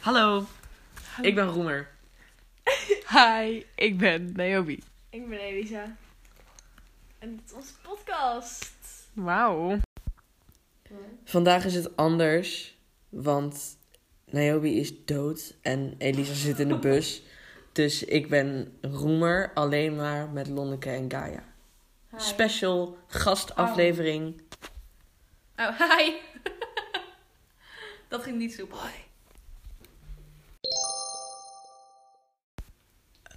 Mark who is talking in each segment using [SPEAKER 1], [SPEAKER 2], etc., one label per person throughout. [SPEAKER 1] Hallo, ik ben Roemer.
[SPEAKER 2] Hi, ik ben Naomi.
[SPEAKER 3] Ik ben Elisa. En dit is onze podcast.
[SPEAKER 2] Wauw.
[SPEAKER 1] Vandaag is het anders, want Naomi is dood en Elisa zit in de bus. Dus ik ben Roemer, alleen maar met Lonneke en Gaia. Special gastaflevering.
[SPEAKER 3] Oh, hi. Dat ging niet soepel.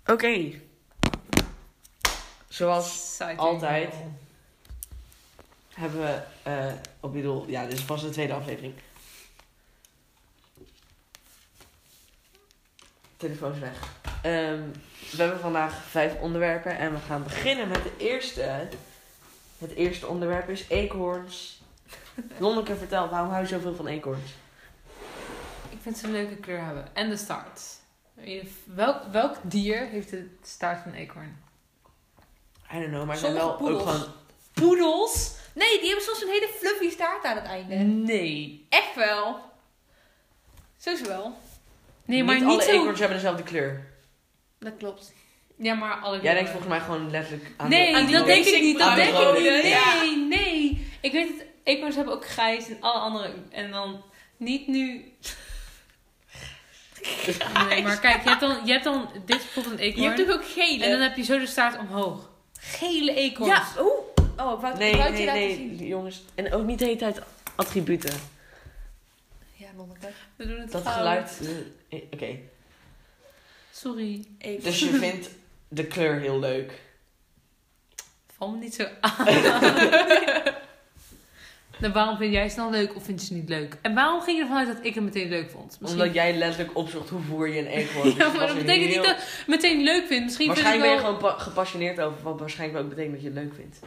[SPEAKER 1] Oké. Zoals
[SPEAKER 3] Oh,
[SPEAKER 1] altijd hebben we, eh op bedoel, ja, dit is pas de tweede aflevering. Telefoon is weg. Ehm, we hebben vandaag vijf onderwerpen en we gaan beginnen met de eerste. Het eerste onderwerp is eekhoorns. Lonneke, vertel, waarom hou je zoveel van eekhoorns?
[SPEAKER 4] Ik vind ze een leuke kleur hebben. En de staart. Welk, welk dier heeft de staart van een eekhoorn?
[SPEAKER 1] I don't know, maar ze zijn
[SPEAKER 4] Sommige
[SPEAKER 1] wel ook
[SPEAKER 4] poedels.
[SPEAKER 1] gewoon...
[SPEAKER 4] Poedels?
[SPEAKER 3] Nee, die hebben soms een hele fluffy staart aan het einde.
[SPEAKER 4] Nee.
[SPEAKER 3] Echt wel. Zo is wel.
[SPEAKER 4] Nee, maar niet,
[SPEAKER 1] alle
[SPEAKER 4] zo...
[SPEAKER 1] eekhoorns hebben dezelfde kleur.
[SPEAKER 3] Dat klopt.
[SPEAKER 4] Ja, maar alle
[SPEAKER 1] Jij denkt volgens mij gewoon letterlijk aan
[SPEAKER 4] Nee,
[SPEAKER 1] de, aan die
[SPEAKER 4] dat denk
[SPEAKER 1] kleur.
[SPEAKER 4] ik niet.
[SPEAKER 1] aan
[SPEAKER 4] Dat
[SPEAKER 1] de
[SPEAKER 4] denk ik
[SPEAKER 1] rode.
[SPEAKER 4] niet. Nee,
[SPEAKER 3] Ja.
[SPEAKER 4] nee. Ik weet het. Eekhoorns hebben ook grijs en alle andere... En dan niet nu... Nee, maar kijk, je hebt dan, je hebt dan dit is bijvoorbeeld een
[SPEAKER 3] Je hebt
[SPEAKER 4] eekhoorn.
[SPEAKER 3] natuurlijk ook gele.
[SPEAKER 4] En dan heb je zo de staart omhoog. Gele eekhoorns.
[SPEAKER 3] Ja, oeh. Oh, ik wou het
[SPEAKER 1] Nee,
[SPEAKER 3] ik wou het
[SPEAKER 1] nee,
[SPEAKER 3] je laten
[SPEAKER 1] nee,
[SPEAKER 3] zien.
[SPEAKER 1] jongens. En ook niet de hele tijd attributen.
[SPEAKER 3] Ja, Lonneke.
[SPEAKER 4] We doen het
[SPEAKER 1] Dat
[SPEAKER 4] fout.
[SPEAKER 1] geluid. eh, Oké.
[SPEAKER 4] Sorry.
[SPEAKER 3] Even.
[SPEAKER 1] Dus je vindt de kleur heel leuk.
[SPEAKER 4] Val me niet zo aan. nou, waarom vind jij ze dan leuk of vind je ze niet leuk? En waarom ging je ervan uit dat ik het meteen leuk vond?
[SPEAKER 1] Omdat jij letterlijk opzocht hoe voer je een eekhoorn. Dus
[SPEAKER 4] ja,
[SPEAKER 1] je
[SPEAKER 4] maar
[SPEAKER 1] was
[SPEAKER 4] dat
[SPEAKER 1] er
[SPEAKER 4] betekent
[SPEAKER 1] heel-
[SPEAKER 4] niet dat ik het meteen leuk vind. Misschien vind ik
[SPEAKER 1] Waarschijnlijk ben
[SPEAKER 4] wel...
[SPEAKER 1] je gewoon pa- gepassioneerd over, wat waarschijnlijk ook betekent dat je het leuk vindt.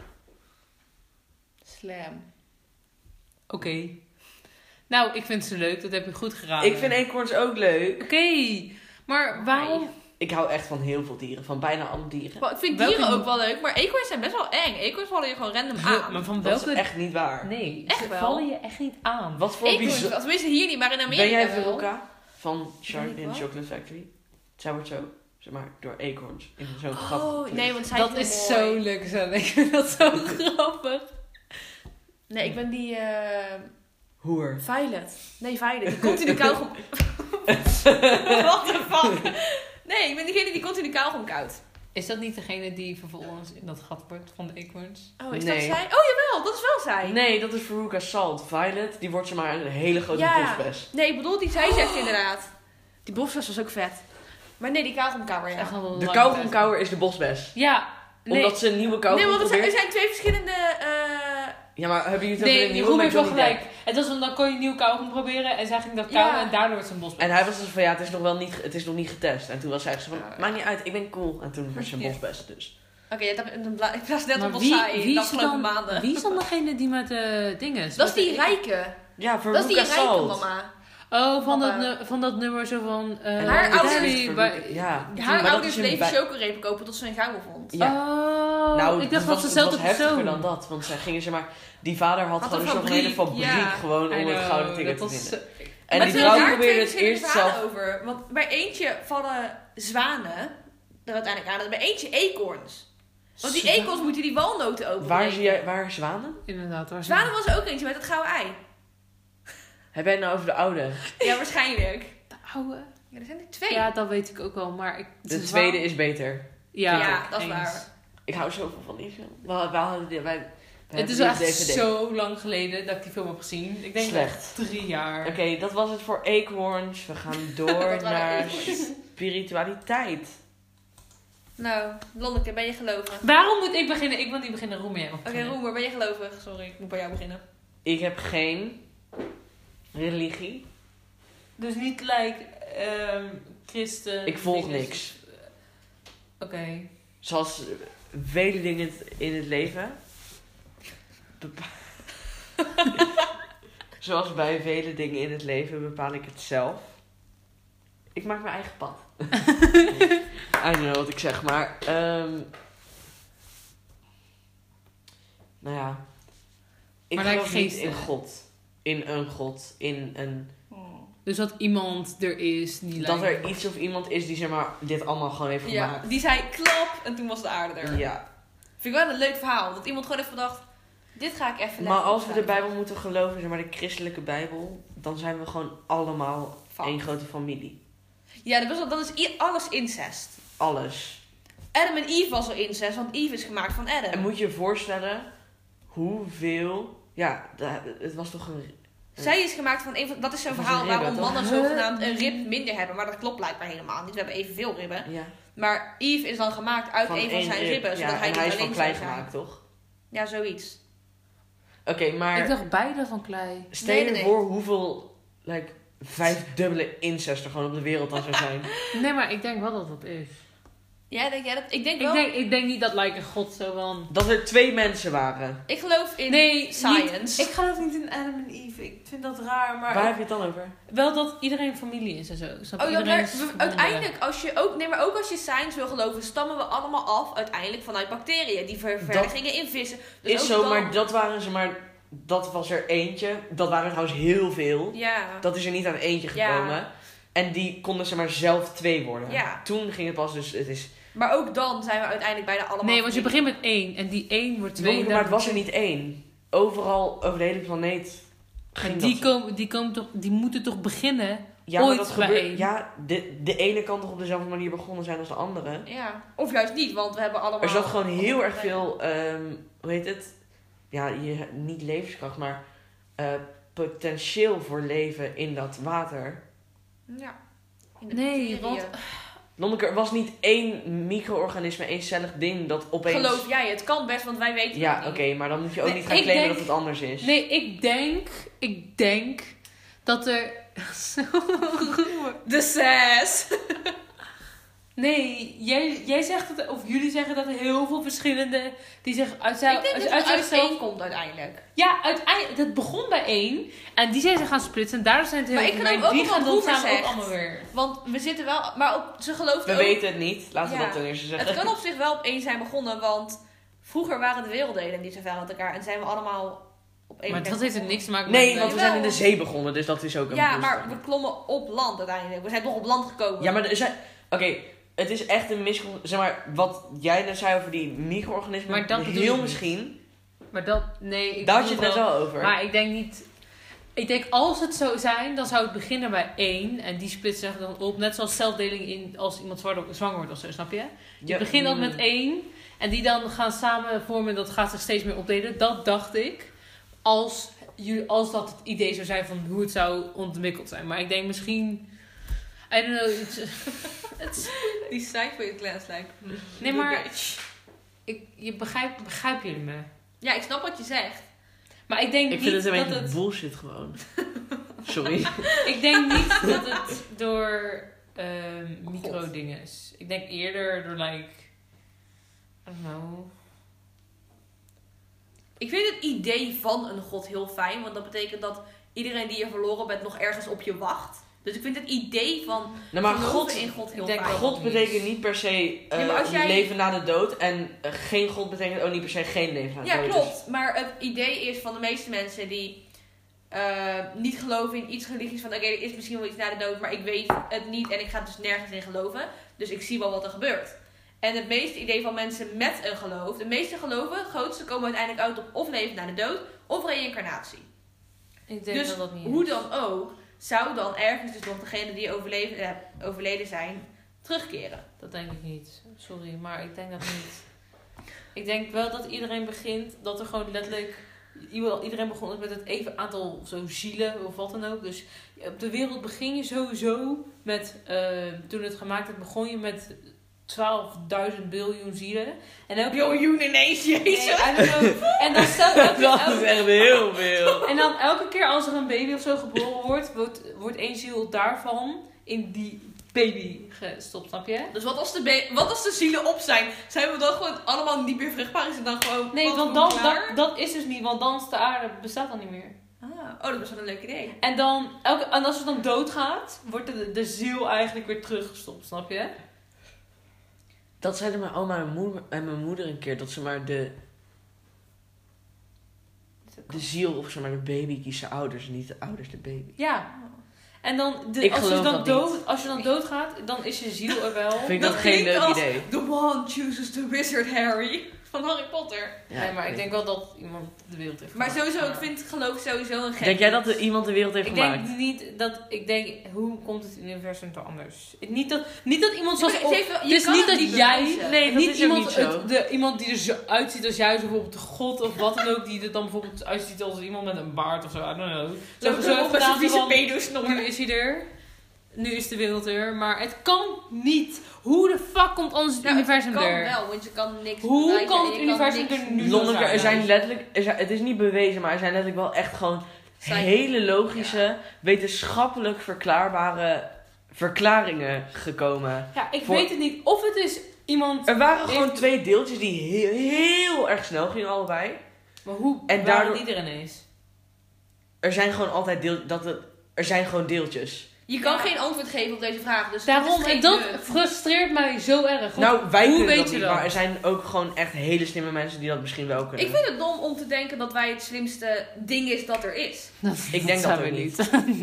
[SPEAKER 3] Slam.
[SPEAKER 4] Oké. Nou, ik vind ze leuk. Dat heb je goed geraden.
[SPEAKER 1] Ik vind eekhoorns ook leuk.
[SPEAKER 4] Oké. Maar waarom...
[SPEAKER 1] Ik hou echt van heel veel dieren, van bijna alle dieren.
[SPEAKER 3] Maar ik vind
[SPEAKER 4] Welke-
[SPEAKER 3] dieren ook wel leuk, maar eekhoorns zijn best wel eng. Eekhoorns vallen je gewoon random aan.
[SPEAKER 4] Maar van
[SPEAKER 1] Dat
[SPEAKER 4] Ah, welke...
[SPEAKER 1] is echt niet waar.
[SPEAKER 4] Nee.
[SPEAKER 3] Echt
[SPEAKER 4] ze
[SPEAKER 3] wel.
[SPEAKER 4] vallen je echt niet aan.
[SPEAKER 1] Wat voor
[SPEAKER 3] Eekhoorns,
[SPEAKER 1] bizar.
[SPEAKER 3] wel. tenminste hier niet, maar in Amerika
[SPEAKER 1] Ben jij
[SPEAKER 3] wel.
[SPEAKER 1] Veruca van
[SPEAKER 3] Ben
[SPEAKER 1] Charlie
[SPEAKER 3] ik
[SPEAKER 1] in
[SPEAKER 3] wat?
[SPEAKER 1] Chocolate Factory? Zij wordt zo, zeg maar, door eekhoorns in zo'n
[SPEAKER 3] Oh,
[SPEAKER 1] grappig-
[SPEAKER 3] nee, want zij
[SPEAKER 4] Dat
[SPEAKER 3] heel
[SPEAKER 4] is
[SPEAKER 3] mooi.
[SPEAKER 4] zo leuk, zo. Ik vind dat zo grappig.
[SPEAKER 3] Nee, ik ben die eh
[SPEAKER 1] Hoer.
[SPEAKER 3] Violet. Nee, Violet. Die continu kauwgom... What the fuck? Nee, ik ben diegene die continu kauwgom koudt.
[SPEAKER 4] Is dat niet degene die vervolgens in dat gat wordt van de eekhoorns?
[SPEAKER 3] Oh, is
[SPEAKER 1] Nee.
[SPEAKER 3] dat zij? Oh, jawel, dat is wel zij.
[SPEAKER 1] Nee, dat is Veruca Salt. Violet, die wordt ze maar een hele grote
[SPEAKER 3] Ja.
[SPEAKER 1] bospes.
[SPEAKER 3] Nee, ik bedoel die zij zegt inderdaad. Die bosvest was ook vet. Maar nee, die kauwgomkauwer, ja.
[SPEAKER 4] Echt al een
[SPEAKER 1] De
[SPEAKER 4] lange tijd.
[SPEAKER 1] kauwgomkouwer is de bosbes.
[SPEAKER 4] Ja, nee.
[SPEAKER 1] Omdat ze een nieuwe
[SPEAKER 3] Nee,
[SPEAKER 1] kauwgom
[SPEAKER 3] want er zijn, er
[SPEAKER 1] probeert.
[SPEAKER 3] zijn twee verschillende... eh,
[SPEAKER 1] Ja, maar hebben jullie het over
[SPEAKER 4] Nee,
[SPEAKER 1] een
[SPEAKER 4] die
[SPEAKER 1] nieuwe
[SPEAKER 4] Roem
[SPEAKER 1] met
[SPEAKER 4] heeft wel
[SPEAKER 1] Johnny
[SPEAKER 4] gelijk.
[SPEAKER 1] Depp?
[SPEAKER 4] Het was omdat kon je nieuw kauwgom proberen en zij ging dat kauwen
[SPEAKER 3] Ja.
[SPEAKER 4] en daardoor werd ze een bosbos.
[SPEAKER 1] En hij was dus van, ja, het is nog, wel niet, het is nog niet getest. En toen was hij echt zo van,
[SPEAKER 3] Ah, ja.
[SPEAKER 1] maakt niet uit, ik ben cool. En toen werd ze een
[SPEAKER 4] Ja.
[SPEAKER 1] bosbest dus.
[SPEAKER 3] Oké, ja, dat- dan bla- ik was net op ons saai de afgelopen maanden.
[SPEAKER 4] wie is dan degene die met de dingen
[SPEAKER 3] Dat is die rijke.
[SPEAKER 1] Ja, voor
[SPEAKER 3] Dat is die
[SPEAKER 1] Lucas
[SPEAKER 3] rijke
[SPEAKER 1] Salt.
[SPEAKER 3] mama.
[SPEAKER 4] Oh, van dat,
[SPEAKER 3] Papa.
[SPEAKER 4] nu- van dat nummer zo van... eh,
[SPEAKER 1] eh, En
[SPEAKER 3] Haar
[SPEAKER 1] dat is
[SPEAKER 3] ouders-
[SPEAKER 4] Daddy,
[SPEAKER 1] voor
[SPEAKER 4] waar-
[SPEAKER 1] Lucas- Ja, maar
[SPEAKER 3] Haar
[SPEAKER 1] dat
[SPEAKER 3] ouders
[SPEAKER 1] is dus een
[SPEAKER 3] bleven
[SPEAKER 1] bij-
[SPEAKER 3] chocorepen kopen tot ze een gouden vond.
[SPEAKER 1] Ja.
[SPEAKER 4] Oh,
[SPEAKER 1] nou,
[SPEAKER 4] ik dacht
[SPEAKER 1] was,
[SPEAKER 4] dat
[SPEAKER 1] het
[SPEAKER 4] ze zelf
[SPEAKER 1] was heftiger dan dat. Want zij gingen ze maar... Die vader had,
[SPEAKER 3] Had
[SPEAKER 1] gewoon
[SPEAKER 3] een
[SPEAKER 1] zo'n hele
[SPEAKER 3] fabriek,
[SPEAKER 1] fabriek
[SPEAKER 3] ja.
[SPEAKER 1] gewoon om het gouden ticket te vinden. En
[SPEAKER 3] maar
[SPEAKER 1] die
[SPEAKER 3] er zijn
[SPEAKER 1] vrouw
[SPEAKER 3] daar
[SPEAKER 1] probeerde
[SPEAKER 3] twee
[SPEAKER 1] het
[SPEAKER 3] verschillende
[SPEAKER 1] eerst
[SPEAKER 3] verhalen
[SPEAKER 1] zelf...
[SPEAKER 3] over. Want bij eentje vallen zwanen er uiteindelijk aan. En bij eentje eekhoorns. Want die eekhoorns moeten die walnoten open.
[SPEAKER 1] Waar, zie jij, waar zwanen?
[SPEAKER 4] Inderdaad, waar
[SPEAKER 3] Zwanen was er ook eentje met het gouden ei.
[SPEAKER 1] Heb jij het nou over de oude?
[SPEAKER 3] Ja, waarschijnlijk.
[SPEAKER 4] de oude?
[SPEAKER 3] Ja, er zijn er twee.
[SPEAKER 4] Ja, dat weet ik ook wel, maar... Ik,
[SPEAKER 1] De tweede is beter.
[SPEAKER 4] Ja,
[SPEAKER 3] Ja, dat is
[SPEAKER 4] eens.
[SPEAKER 3] waar.
[SPEAKER 1] Ik hou zoveel van die film. We, we hadden... die- Wij, wij
[SPEAKER 4] Het is
[SPEAKER 1] hebben
[SPEAKER 4] echt
[SPEAKER 1] die op DVD.
[SPEAKER 4] zo lang geleden dat ik die film heb gezien. Ik denk
[SPEAKER 1] Slecht.
[SPEAKER 4] drie jaar.
[SPEAKER 1] Oké, dat was het voor eekhoorns. We gaan door
[SPEAKER 3] waren
[SPEAKER 1] naar
[SPEAKER 3] eekhoorns.
[SPEAKER 1] spiritualiteit.
[SPEAKER 3] Nou, Lonneke, ben je gelovig?
[SPEAKER 4] Waarom moet ik beginnen? Ik wil niet beginnen, Roem jij mag
[SPEAKER 3] Oké,
[SPEAKER 4] beginnen.
[SPEAKER 3] Roemer, ben je gelovig? Sorry, ik moet bij jou beginnen.
[SPEAKER 1] Ik heb geen religie.
[SPEAKER 4] Dus niet gelijk ehm, christen.
[SPEAKER 1] Ik volg
[SPEAKER 4] dinges.
[SPEAKER 1] niks.
[SPEAKER 4] Oké.
[SPEAKER 1] Zoals eh, vele dingen in het leven. bepa- Zoals bij vele dingen in het leven bepaal ik het zelf. Ik maak mijn eigen pad. I don't know wat ik zeg, maar... ehm, nou ja. Ik
[SPEAKER 4] Maar lijkt
[SPEAKER 1] geloof niet
[SPEAKER 4] geesten.
[SPEAKER 1] in God. In een God. In een...
[SPEAKER 3] Hmm.
[SPEAKER 4] Dus dat iemand er is die
[SPEAKER 1] Dat
[SPEAKER 4] lijkt-
[SPEAKER 1] er iets of iemand is die zeg maar, dit allemaal gewoon heeft
[SPEAKER 3] Ja,
[SPEAKER 1] gemaakt.
[SPEAKER 3] die zei klap en toen was de aarde er.
[SPEAKER 1] Ja.
[SPEAKER 3] Vind ik wel een leuk verhaal. Dat iemand gewoon heeft bedacht, dit ga ik even lekker
[SPEAKER 1] Maar als we de
[SPEAKER 3] opschrijven.
[SPEAKER 1] Bijbel moeten geloven, zeg maar de christelijke Bijbel, dan zijn we gewoon allemaal
[SPEAKER 3] Fuck.
[SPEAKER 1] één grote familie.
[SPEAKER 3] Ja, dat, was, al- dat is i- alles incest.
[SPEAKER 1] Alles.
[SPEAKER 3] Adam en Eve was al incest, want Eve is gemaakt van Adam.
[SPEAKER 1] En moet je je voorstellen hoeveel. Ja, da- het was toch een.
[SPEAKER 3] Zij is gemaakt van een van... Dat is zo'n
[SPEAKER 1] Dat is
[SPEAKER 3] verhaal
[SPEAKER 1] een ribben,
[SPEAKER 3] waarom
[SPEAKER 1] toch?
[SPEAKER 3] mannen zogenaamd een rib minder hebben. Maar dat klopt blijkbaar helemaal niet. We hebben evenveel ribben.
[SPEAKER 1] Ja,
[SPEAKER 3] Maar Eve is dan gemaakt uit een van
[SPEAKER 1] één
[SPEAKER 3] zijn
[SPEAKER 1] rib.
[SPEAKER 3] ribben. Zodat
[SPEAKER 1] Ja,
[SPEAKER 3] hij
[SPEAKER 1] en
[SPEAKER 3] niet
[SPEAKER 1] hij is
[SPEAKER 3] alleen
[SPEAKER 1] van klei
[SPEAKER 3] zou zijn.
[SPEAKER 1] gemaakt, toch?
[SPEAKER 3] Ja, zoiets.
[SPEAKER 1] Oké, maar.
[SPEAKER 4] Ik dacht beide van klei.
[SPEAKER 1] Stel
[SPEAKER 3] Nee,
[SPEAKER 1] je
[SPEAKER 3] nee, nee.
[SPEAKER 1] voor hoeveel like, vijfdubbele incest er gewoon op de wereld dan zou zijn.
[SPEAKER 4] Nee, maar ik denk wel dat dat is.
[SPEAKER 3] Jij denkt, jij dat, ik denk
[SPEAKER 4] Ik
[SPEAKER 3] wel...
[SPEAKER 4] denk, ik denk niet dat lijken God zo van...
[SPEAKER 1] Dat er twee mensen waren.
[SPEAKER 3] ik geloof in
[SPEAKER 4] Nee,
[SPEAKER 3] science.
[SPEAKER 4] ik geloof niet in Adam en Eve. Ik vind dat raar, maar...
[SPEAKER 1] Waar heb je het dan over?
[SPEAKER 4] Wel dat iedereen familie is en zo. Snap je?
[SPEAKER 3] Oh ja,
[SPEAKER 4] Iedereen
[SPEAKER 3] daar-
[SPEAKER 4] is
[SPEAKER 3] we-
[SPEAKER 4] verbonden.
[SPEAKER 3] uiteindelijk, als je ook, nee, maar ook als je science wil geloven, stammen we allemaal af uiteindelijk vanuit bacteriën. Die ververgingen in vissen. Dus ook
[SPEAKER 1] Is zo,
[SPEAKER 3] dan-
[SPEAKER 1] maar dat waren ze maar. Dat was er eentje. Dat waren trouwens heel veel.
[SPEAKER 3] Ja.
[SPEAKER 1] Dat is er niet aan eentje
[SPEAKER 3] Ja.
[SPEAKER 1] gekomen. En die konden ze maar zelf twee worden.
[SPEAKER 3] Ja.
[SPEAKER 1] Toen ging het pas, dus het is.
[SPEAKER 3] Maar ook dan zijn we uiteindelijk bijna allemaal
[SPEAKER 4] Nee, want je
[SPEAKER 3] familie.
[SPEAKER 4] begint met één en die één wordt twee.
[SPEAKER 1] Twee,
[SPEAKER 4] en
[SPEAKER 1] maar het
[SPEAKER 4] dan-
[SPEAKER 1] was er niet één. Overal, over de hele planeet.
[SPEAKER 4] Maar
[SPEAKER 1] Ging
[SPEAKER 4] die,
[SPEAKER 1] dat-
[SPEAKER 4] komen, die, komen toch, die moeten toch beginnen?
[SPEAKER 1] ja, maar
[SPEAKER 4] ooit
[SPEAKER 1] dat
[SPEAKER 4] bij
[SPEAKER 1] gebeurt-
[SPEAKER 4] één.
[SPEAKER 1] Ja, de, de ene kan toch op dezelfde manier begonnen zijn als de andere.
[SPEAKER 3] Ja. Of juist niet, want we hebben allemaal...
[SPEAKER 1] Er zat gewoon heel erg veel, ehm, hoe heet het? Ja, je, niet levenskracht, maar eh, potentieel voor leven in dat water.
[SPEAKER 3] Ja. In de eh,
[SPEAKER 4] Nee,
[SPEAKER 3] bacteriën.
[SPEAKER 4] want
[SPEAKER 1] Lonneke, er was niet één micro-organisme, eencellig ding dat opeens...
[SPEAKER 3] Geloof jij, het kan best, want wij weten
[SPEAKER 1] Ja,
[SPEAKER 3] het
[SPEAKER 1] oké,
[SPEAKER 3] niet.
[SPEAKER 1] maar dan moet je ook
[SPEAKER 4] Nee,
[SPEAKER 1] niet gaan
[SPEAKER 4] ik
[SPEAKER 1] claimen
[SPEAKER 4] denk-
[SPEAKER 1] dat het anders is.
[SPEAKER 4] Nee, ik denk, ik denk dat er. Zo roer.
[SPEAKER 3] De zes.
[SPEAKER 4] nee, jij, jij zegt dat, er- of jullie zeggen dat er heel veel verschillende. die zich uit zijn.
[SPEAKER 3] Ik denk dat
[SPEAKER 4] uit-
[SPEAKER 3] het
[SPEAKER 4] uit
[SPEAKER 3] uit
[SPEAKER 4] zichzelf-
[SPEAKER 3] één komt uiteindelijk.
[SPEAKER 4] Ja, uiteindelijk. Het begon bij één. En die zijn ze gaan splitsen. En daardoor zijn het heel
[SPEAKER 3] Maar ik
[SPEAKER 4] veel.
[SPEAKER 3] geloof ook
[SPEAKER 4] die
[SPEAKER 3] nog wat
[SPEAKER 4] gaan dan
[SPEAKER 3] Roemer
[SPEAKER 4] samen ook
[SPEAKER 3] zegt.
[SPEAKER 4] allemaal weer.
[SPEAKER 3] Want we zitten wel... Maar op, ze gelooft
[SPEAKER 1] We
[SPEAKER 3] ook...
[SPEAKER 1] weten het niet, laten we
[SPEAKER 3] Ja.
[SPEAKER 1] dat ten eerste zeggen.
[SPEAKER 3] Het kan op zich wel op één zijn begonnen, want vroeger waren de werelddelen niet zo ver uit elkaar en zijn we allemaal op één
[SPEAKER 4] Maar
[SPEAKER 3] plek
[SPEAKER 4] dat heeft er
[SPEAKER 3] begonnen.
[SPEAKER 4] niks te maken met.
[SPEAKER 1] Nee, want we
[SPEAKER 3] Jawel.
[SPEAKER 1] zijn in de zee begonnen, dus dat is ook een
[SPEAKER 3] Ja,
[SPEAKER 1] plus
[SPEAKER 3] maar
[SPEAKER 1] dan.
[SPEAKER 3] we klommen op land uiteindelijk. We zijn toch op land gekomen.
[SPEAKER 1] Ja, maar er zijn... Oké, het is echt een miscon... Zeg maar, wat jij net zei over die micro-organismen...
[SPEAKER 4] Maar dat bedoel ik
[SPEAKER 1] Heel
[SPEAKER 4] niet.
[SPEAKER 1] misschien,
[SPEAKER 4] Maar dat. Nee, ik
[SPEAKER 1] daar had je het
[SPEAKER 4] bedoel
[SPEAKER 1] net wel over.
[SPEAKER 4] Maar ik denk niet. Ik denk als het zo zijn, dan zou het beginnen bij één. En die splitsen zich dan op. Net zoals celdeling in als iemand zwaar- zwanger wordt of zo, snap je? Je
[SPEAKER 1] Ja,
[SPEAKER 4] begint dan
[SPEAKER 1] mm.
[SPEAKER 4] met één. En die dan gaan samen vormen. en Dat gaat zich steeds meer opdelen. Dat dacht ik. Als, jullie- als dat het idee zou zijn van hoe het zou ontwikkeld zijn. Maar ik denk misschien. I don't know. it's-
[SPEAKER 3] die sci-fi class lijkt.
[SPEAKER 4] nee, maar. Ik, je begrijp, begrijpen jullie me?
[SPEAKER 3] Ja, ik snap wat je zegt.
[SPEAKER 4] Maar ik denk
[SPEAKER 1] Ik
[SPEAKER 4] niet
[SPEAKER 1] vind het een
[SPEAKER 4] dat
[SPEAKER 1] beetje
[SPEAKER 4] het.
[SPEAKER 1] bullshit gewoon. Sorry.
[SPEAKER 4] Ik denk niet dat het door ehm micro-dingen is. Ik denk eerder door, like. I don't know.
[SPEAKER 3] Ik vind het idee van een god heel fijn, want dat betekent dat iedereen die je verloren bent nog ergens op je wacht. Dus ik vind het idee van
[SPEAKER 1] Nou, maar
[SPEAKER 3] geloven
[SPEAKER 1] God,
[SPEAKER 3] in God heel
[SPEAKER 4] ik denk
[SPEAKER 3] fijn.
[SPEAKER 1] God betekent niet per se eh,
[SPEAKER 3] Ja, maar als jij-
[SPEAKER 1] leven na de dood. En eh, geen God betekent ook niet per se geen leven na de
[SPEAKER 3] Ja,
[SPEAKER 1] dood. Dus
[SPEAKER 3] klopt. Maar het idee is van de meeste mensen die eh, niet geloven in iets religies van oké, er is misschien wel iets na de dood, maar ik weet het niet en ik ga dus nergens in geloven. Dus ik zie wel wat er gebeurt. En het meeste idee van mensen met een geloof, de meeste geloven, het grootste komen uiteindelijk uit op of leven na de dood of reïncarnatie.
[SPEAKER 4] Ik denk
[SPEAKER 3] Dus
[SPEAKER 4] dat dat niet
[SPEAKER 3] Hoe
[SPEAKER 4] is.
[SPEAKER 3] dan ook, zou dan ergens dus nog degene die overleven, eh, overleden zijn, terugkeren.
[SPEAKER 4] Dat denk ik niet. Sorry, maar ik denk dat niet. Ik denk wel dat iedereen begint, dat er gewoon letterlijk. ieder- Iedereen begon ook met het even aantal zo zielen of wat dan ook. Dus op de wereld begin je sowieso met. eh, toen het gemaakt werd, begon je met 12.000 biljoen zielen. En elke
[SPEAKER 3] Biljoen ineens,
[SPEAKER 4] Nee,
[SPEAKER 3] jezus!
[SPEAKER 4] I don't know. En dan stel elke,
[SPEAKER 1] Dat is
[SPEAKER 4] elke-
[SPEAKER 1] echt heel veel.
[SPEAKER 4] en dan elke keer als er een baby of zo geboren wordt, wordt, wordt één ziel daarvan in die baby gestopt, snap je?
[SPEAKER 3] Dus wat als, de be- wat als de zielen op zijn? Zijn we dan gewoon allemaal niet meer vruchtbaar? Is het dan gewoon...
[SPEAKER 4] Nee,
[SPEAKER 3] wat,
[SPEAKER 4] want
[SPEAKER 3] we
[SPEAKER 4] dan,
[SPEAKER 3] moeten
[SPEAKER 4] dat,
[SPEAKER 3] klaar?
[SPEAKER 4] dat is dus niet, want dan is de aarde bestaat dan niet meer.
[SPEAKER 3] Ah, oh, dat is wel een leuk idee.
[SPEAKER 4] En, dan, elke, en als het dan doodgaat, wordt de, de ziel eigenlijk weer teruggestopt, snap je?
[SPEAKER 1] Dat zeiden mijn oma en mijn, moeder, en mijn moeder een keer. Dat ze maar de, de ziel of zeg maar de baby kiezen ouders. En niet de ouders de baby.
[SPEAKER 4] Ja. En dan, de-
[SPEAKER 1] Ik
[SPEAKER 4] als, je
[SPEAKER 1] geloof
[SPEAKER 4] dan
[SPEAKER 1] dat
[SPEAKER 4] dood, als je dan doodgaat, dan is je ziel er wel.
[SPEAKER 1] Vind ik
[SPEAKER 3] Dat
[SPEAKER 1] dat, geen
[SPEAKER 3] klinkt
[SPEAKER 1] leuk
[SPEAKER 3] als-
[SPEAKER 1] idee.
[SPEAKER 3] The one chooses the wizard Harry van Harry Potter.
[SPEAKER 1] Ja,
[SPEAKER 4] nee, maar ik
[SPEAKER 1] weet
[SPEAKER 4] denk wel dat iemand de wereld heeft
[SPEAKER 3] Maar
[SPEAKER 4] gemaakt.
[SPEAKER 3] sowieso, ik
[SPEAKER 4] Maar-
[SPEAKER 3] vind geloof sowieso een
[SPEAKER 1] niet.
[SPEAKER 3] gek.
[SPEAKER 1] Denk jij dat er iemand de wereld heeft
[SPEAKER 4] Ik
[SPEAKER 1] gemaakt?
[SPEAKER 4] denk niet dat ik denk hoe komt het universum te anders? niet dat niet dat iemand zoals
[SPEAKER 3] Het heeft wel- je
[SPEAKER 4] het is
[SPEAKER 3] kan
[SPEAKER 4] niet
[SPEAKER 3] het
[SPEAKER 4] dat
[SPEAKER 3] niet
[SPEAKER 4] jij
[SPEAKER 3] bewijzen.
[SPEAKER 1] Nee, dat
[SPEAKER 4] niet
[SPEAKER 1] is ook
[SPEAKER 4] iemand
[SPEAKER 1] niet zo.
[SPEAKER 4] het- de, iemand die er zo uitziet als jij zo bijvoorbeeld God of wat dan ook die er dan bijvoorbeeld uitziet als iemand met een baard of zo I don't know.
[SPEAKER 3] Zo, zo
[SPEAKER 4] Zo zo
[SPEAKER 3] met zijn
[SPEAKER 4] gedaan
[SPEAKER 3] vieze
[SPEAKER 4] van,
[SPEAKER 3] pedosnor.
[SPEAKER 4] nu is hij er. Nu is de wereld er, maar het kan niet. Hoe de fuck komt ons
[SPEAKER 3] Nou,
[SPEAKER 4] universum
[SPEAKER 3] het kan
[SPEAKER 4] er?
[SPEAKER 3] wel, want je kan niks
[SPEAKER 4] Hoe
[SPEAKER 3] bewijzen
[SPEAKER 4] kan
[SPEAKER 3] en
[SPEAKER 4] het
[SPEAKER 3] je
[SPEAKER 4] universum
[SPEAKER 3] niks-
[SPEAKER 4] er nu
[SPEAKER 1] Lonneke,
[SPEAKER 4] Lonneke,
[SPEAKER 1] er zijn letterlijk, er zijn, het is niet bewezen, maar er zijn letterlijk wel echt gewoon
[SPEAKER 3] Zijn-
[SPEAKER 1] hele logische, wetenschappelijk verklaarbare verklaringen gekomen.
[SPEAKER 4] Ja, ik
[SPEAKER 1] Voor-
[SPEAKER 4] weet het niet of het is iemand
[SPEAKER 1] Er waren gewoon
[SPEAKER 4] Heeft-
[SPEAKER 1] twee deeltjes die heel, heel erg snel gingen allebei.
[SPEAKER 4] maar hoe
[SPEAKER 1] En
[SPEAKER 4] waren
[SPEAKER 1] daardoor-
[SPEAKER 4] die er ineens?
[SPEAKER 1] Er zijn gewoon altijd deel, dat het, er zijn gewoon deeltjes.
[SPEAKER 3] Je kan
[SPEAKER 4] Ja.
[SPEAKER 3] geen antwoord geven op deze vraag. Dus dat
[SPEAKER 4] Daarom,
[SPEAKER 3] is geen
[SPEAKER 4] en dat
[SPEAKER 3] nut.
[SPEAKER 4] frustreert mij zo erg. Want
[SPEAKER 1] nou, wij
[SPEAKER 4] hoe
[SPEAKER 1] kunnen
[SPEAKER 4] weet
[SPEAKER 1] dat
[SPEAKER 4] je
[SPEAKER 1] niet,
[SPEAKER 4] dat?
[SPEAKER 1] maar er zijn ook gewoon echt hele slimme mensen die dat misschien wel kunnen.
[SPEAKER 3] Ik vind het dom om te denken dat wij het slimste ding is dat er is.
[SPEAKER 1] Ik denk dat
[SPEAKER 2] zijn
[SPEAKER 1] ook
[SPEAKER 2] we
[SPEAKER 1] niet.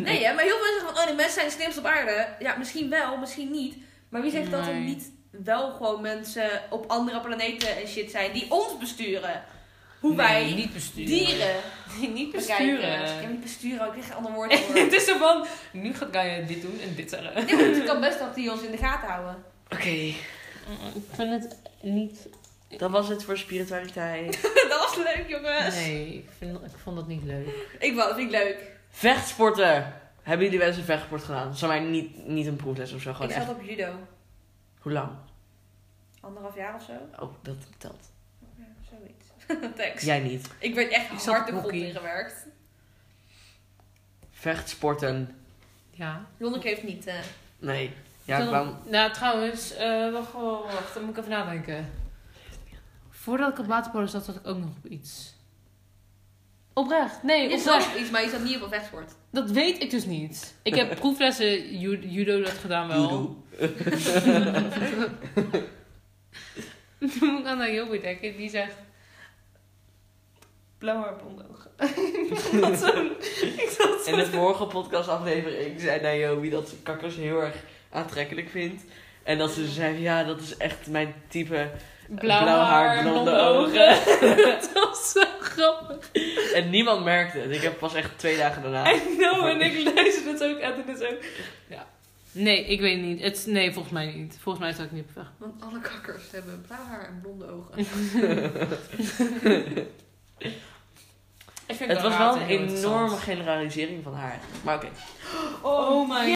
[SPEAKER 3] Nee, hè? maar heel veel mensen zeggen van, oh, de mensen zijn de slimste op aarde. Ja, misschien wel, misschien niet. Maar wie zegt dat er
[SPEAKER 4] Nee.
[SPEAKER 3] niet wel gewoon mensen op andere planeten en shit zijn die ons besturen? Hoe wij
[SPEAKER 4] Nee, niet besturen.
[SPEAKER 3] dieren
[SPEAKER 4] Nee, niet
[SPEAKER 3] bekijken. Ik heb
[SPEAKER 4] besturen.
[SPEAKER 3] niet besturen, ik krijg een ander woord voor.
[SPEAKER 4] Het is zo van, nu gaat Gaia dit doen en dit zeggen.
[SPEAKER 3] Ja, want het kan best dat die ons in de gaten houden.
[SPEAKER 1] Oké,
[SPEAKER 4] Mm, Ik vind het niet...
[SPEAKER 1] dat was het voor spiritualiteit.
[SPEAKER 3] dat was leuk, jongens.
[SPEAKER 4] Nee, ik, vind, ik vond dat niet leuk.
[SPEAKER 3] Ik wou, vind ik leuk.
[SPEAKER 1] Vechtsporten. Hebben jullie wel eens een vechtsport gedaan? Dat is mij niet, niet een proefles of zo, gewoon
[SPEAKER 3] ik
[SPEAKER 1] echt.
[SPEAKER 3] zat op judo.
[SPEAKER 1] Hoe lang?
[SPEAKER 3] Anderhalf jaar of zo.
[SPEAKER 1] Oh, dat telt.
[SPEAKER 3] Ja, zoiets. Thanks.
[SPEAKER 1] Jij niet.
[SPEAKER 3] Ik werd echt
[SPEAKER 4] Ik zat
[SPEAKER 3] hard
[SPEAKER 4] op
[SPEAKER 3] de grond
[SPEAKER 4] hockey.
[SPEAKER 3] ingewerkt.
[SPEAKER 1] Vechtsporten.
[SPEAKER 4] Ja.
[SPEAKER 3] Lonneke heeft niet... eh,
[SPEAKER 1] Nee. Ja, ik
[SPEAKER 4] Toen-
[SPEAKER 1] wou...
[SPEAKER 4] Nou, trouwens, eh, wacht, wacht, wacht, dan moet ik even nadenken. Voordat ik op waterpolo zat, zat ik ook nog op iets. Oprecht? Nee,
[SPEAKER 3] je
[SPEAKER 4] oprecht.
[SPEAKER 3] zat op iets, maar je zat niet op een vechtsport.
[SPEAKER 4] Dat weet ik dus niet. Ik heb proeflessen ju- judo dat gedaan wel.
[SPEAKER 1] Doedoe.
[SPEAKER 4] Toen moet ik aan Nayobi denken, die zegt... Blauw haar, blond oog. Ik had zo'n- ik zat
[SPEAKER 1] In de vorige podcastaflevering zei Naomi dat ze kakkers heel erg aantrekkelijk vindt. En dat ze zei, ja, dat is echt mijn type.
[SPEAKER 4] Blauw,
[SPEAKER 1] Blauw haar,
[SPEAKER 4] haar, blonde,
[SPEAKER 1] blonde
[SPEAKER 4] ogen. dat was zo grappig.
[SPEAKER 1] En niemand merkte het. Ik heb pas echt twee dagen daarna...
[SPEAKER 4] En nou en ik lezen het ook en het is ook... Ja. Nee, ik weet niet. Het, nee, volgens mij niet. Volgens mij is dat niet perfect.
[SPEAKER 3] Want alle kakkers hebben blauw haar en blonde ogen.
[SPEAKER 4] Ik vind
[SPEAKER 1] Het was wel een enorme generalisering van haar. Maar oké.
[SPEAKER 4] Oh my...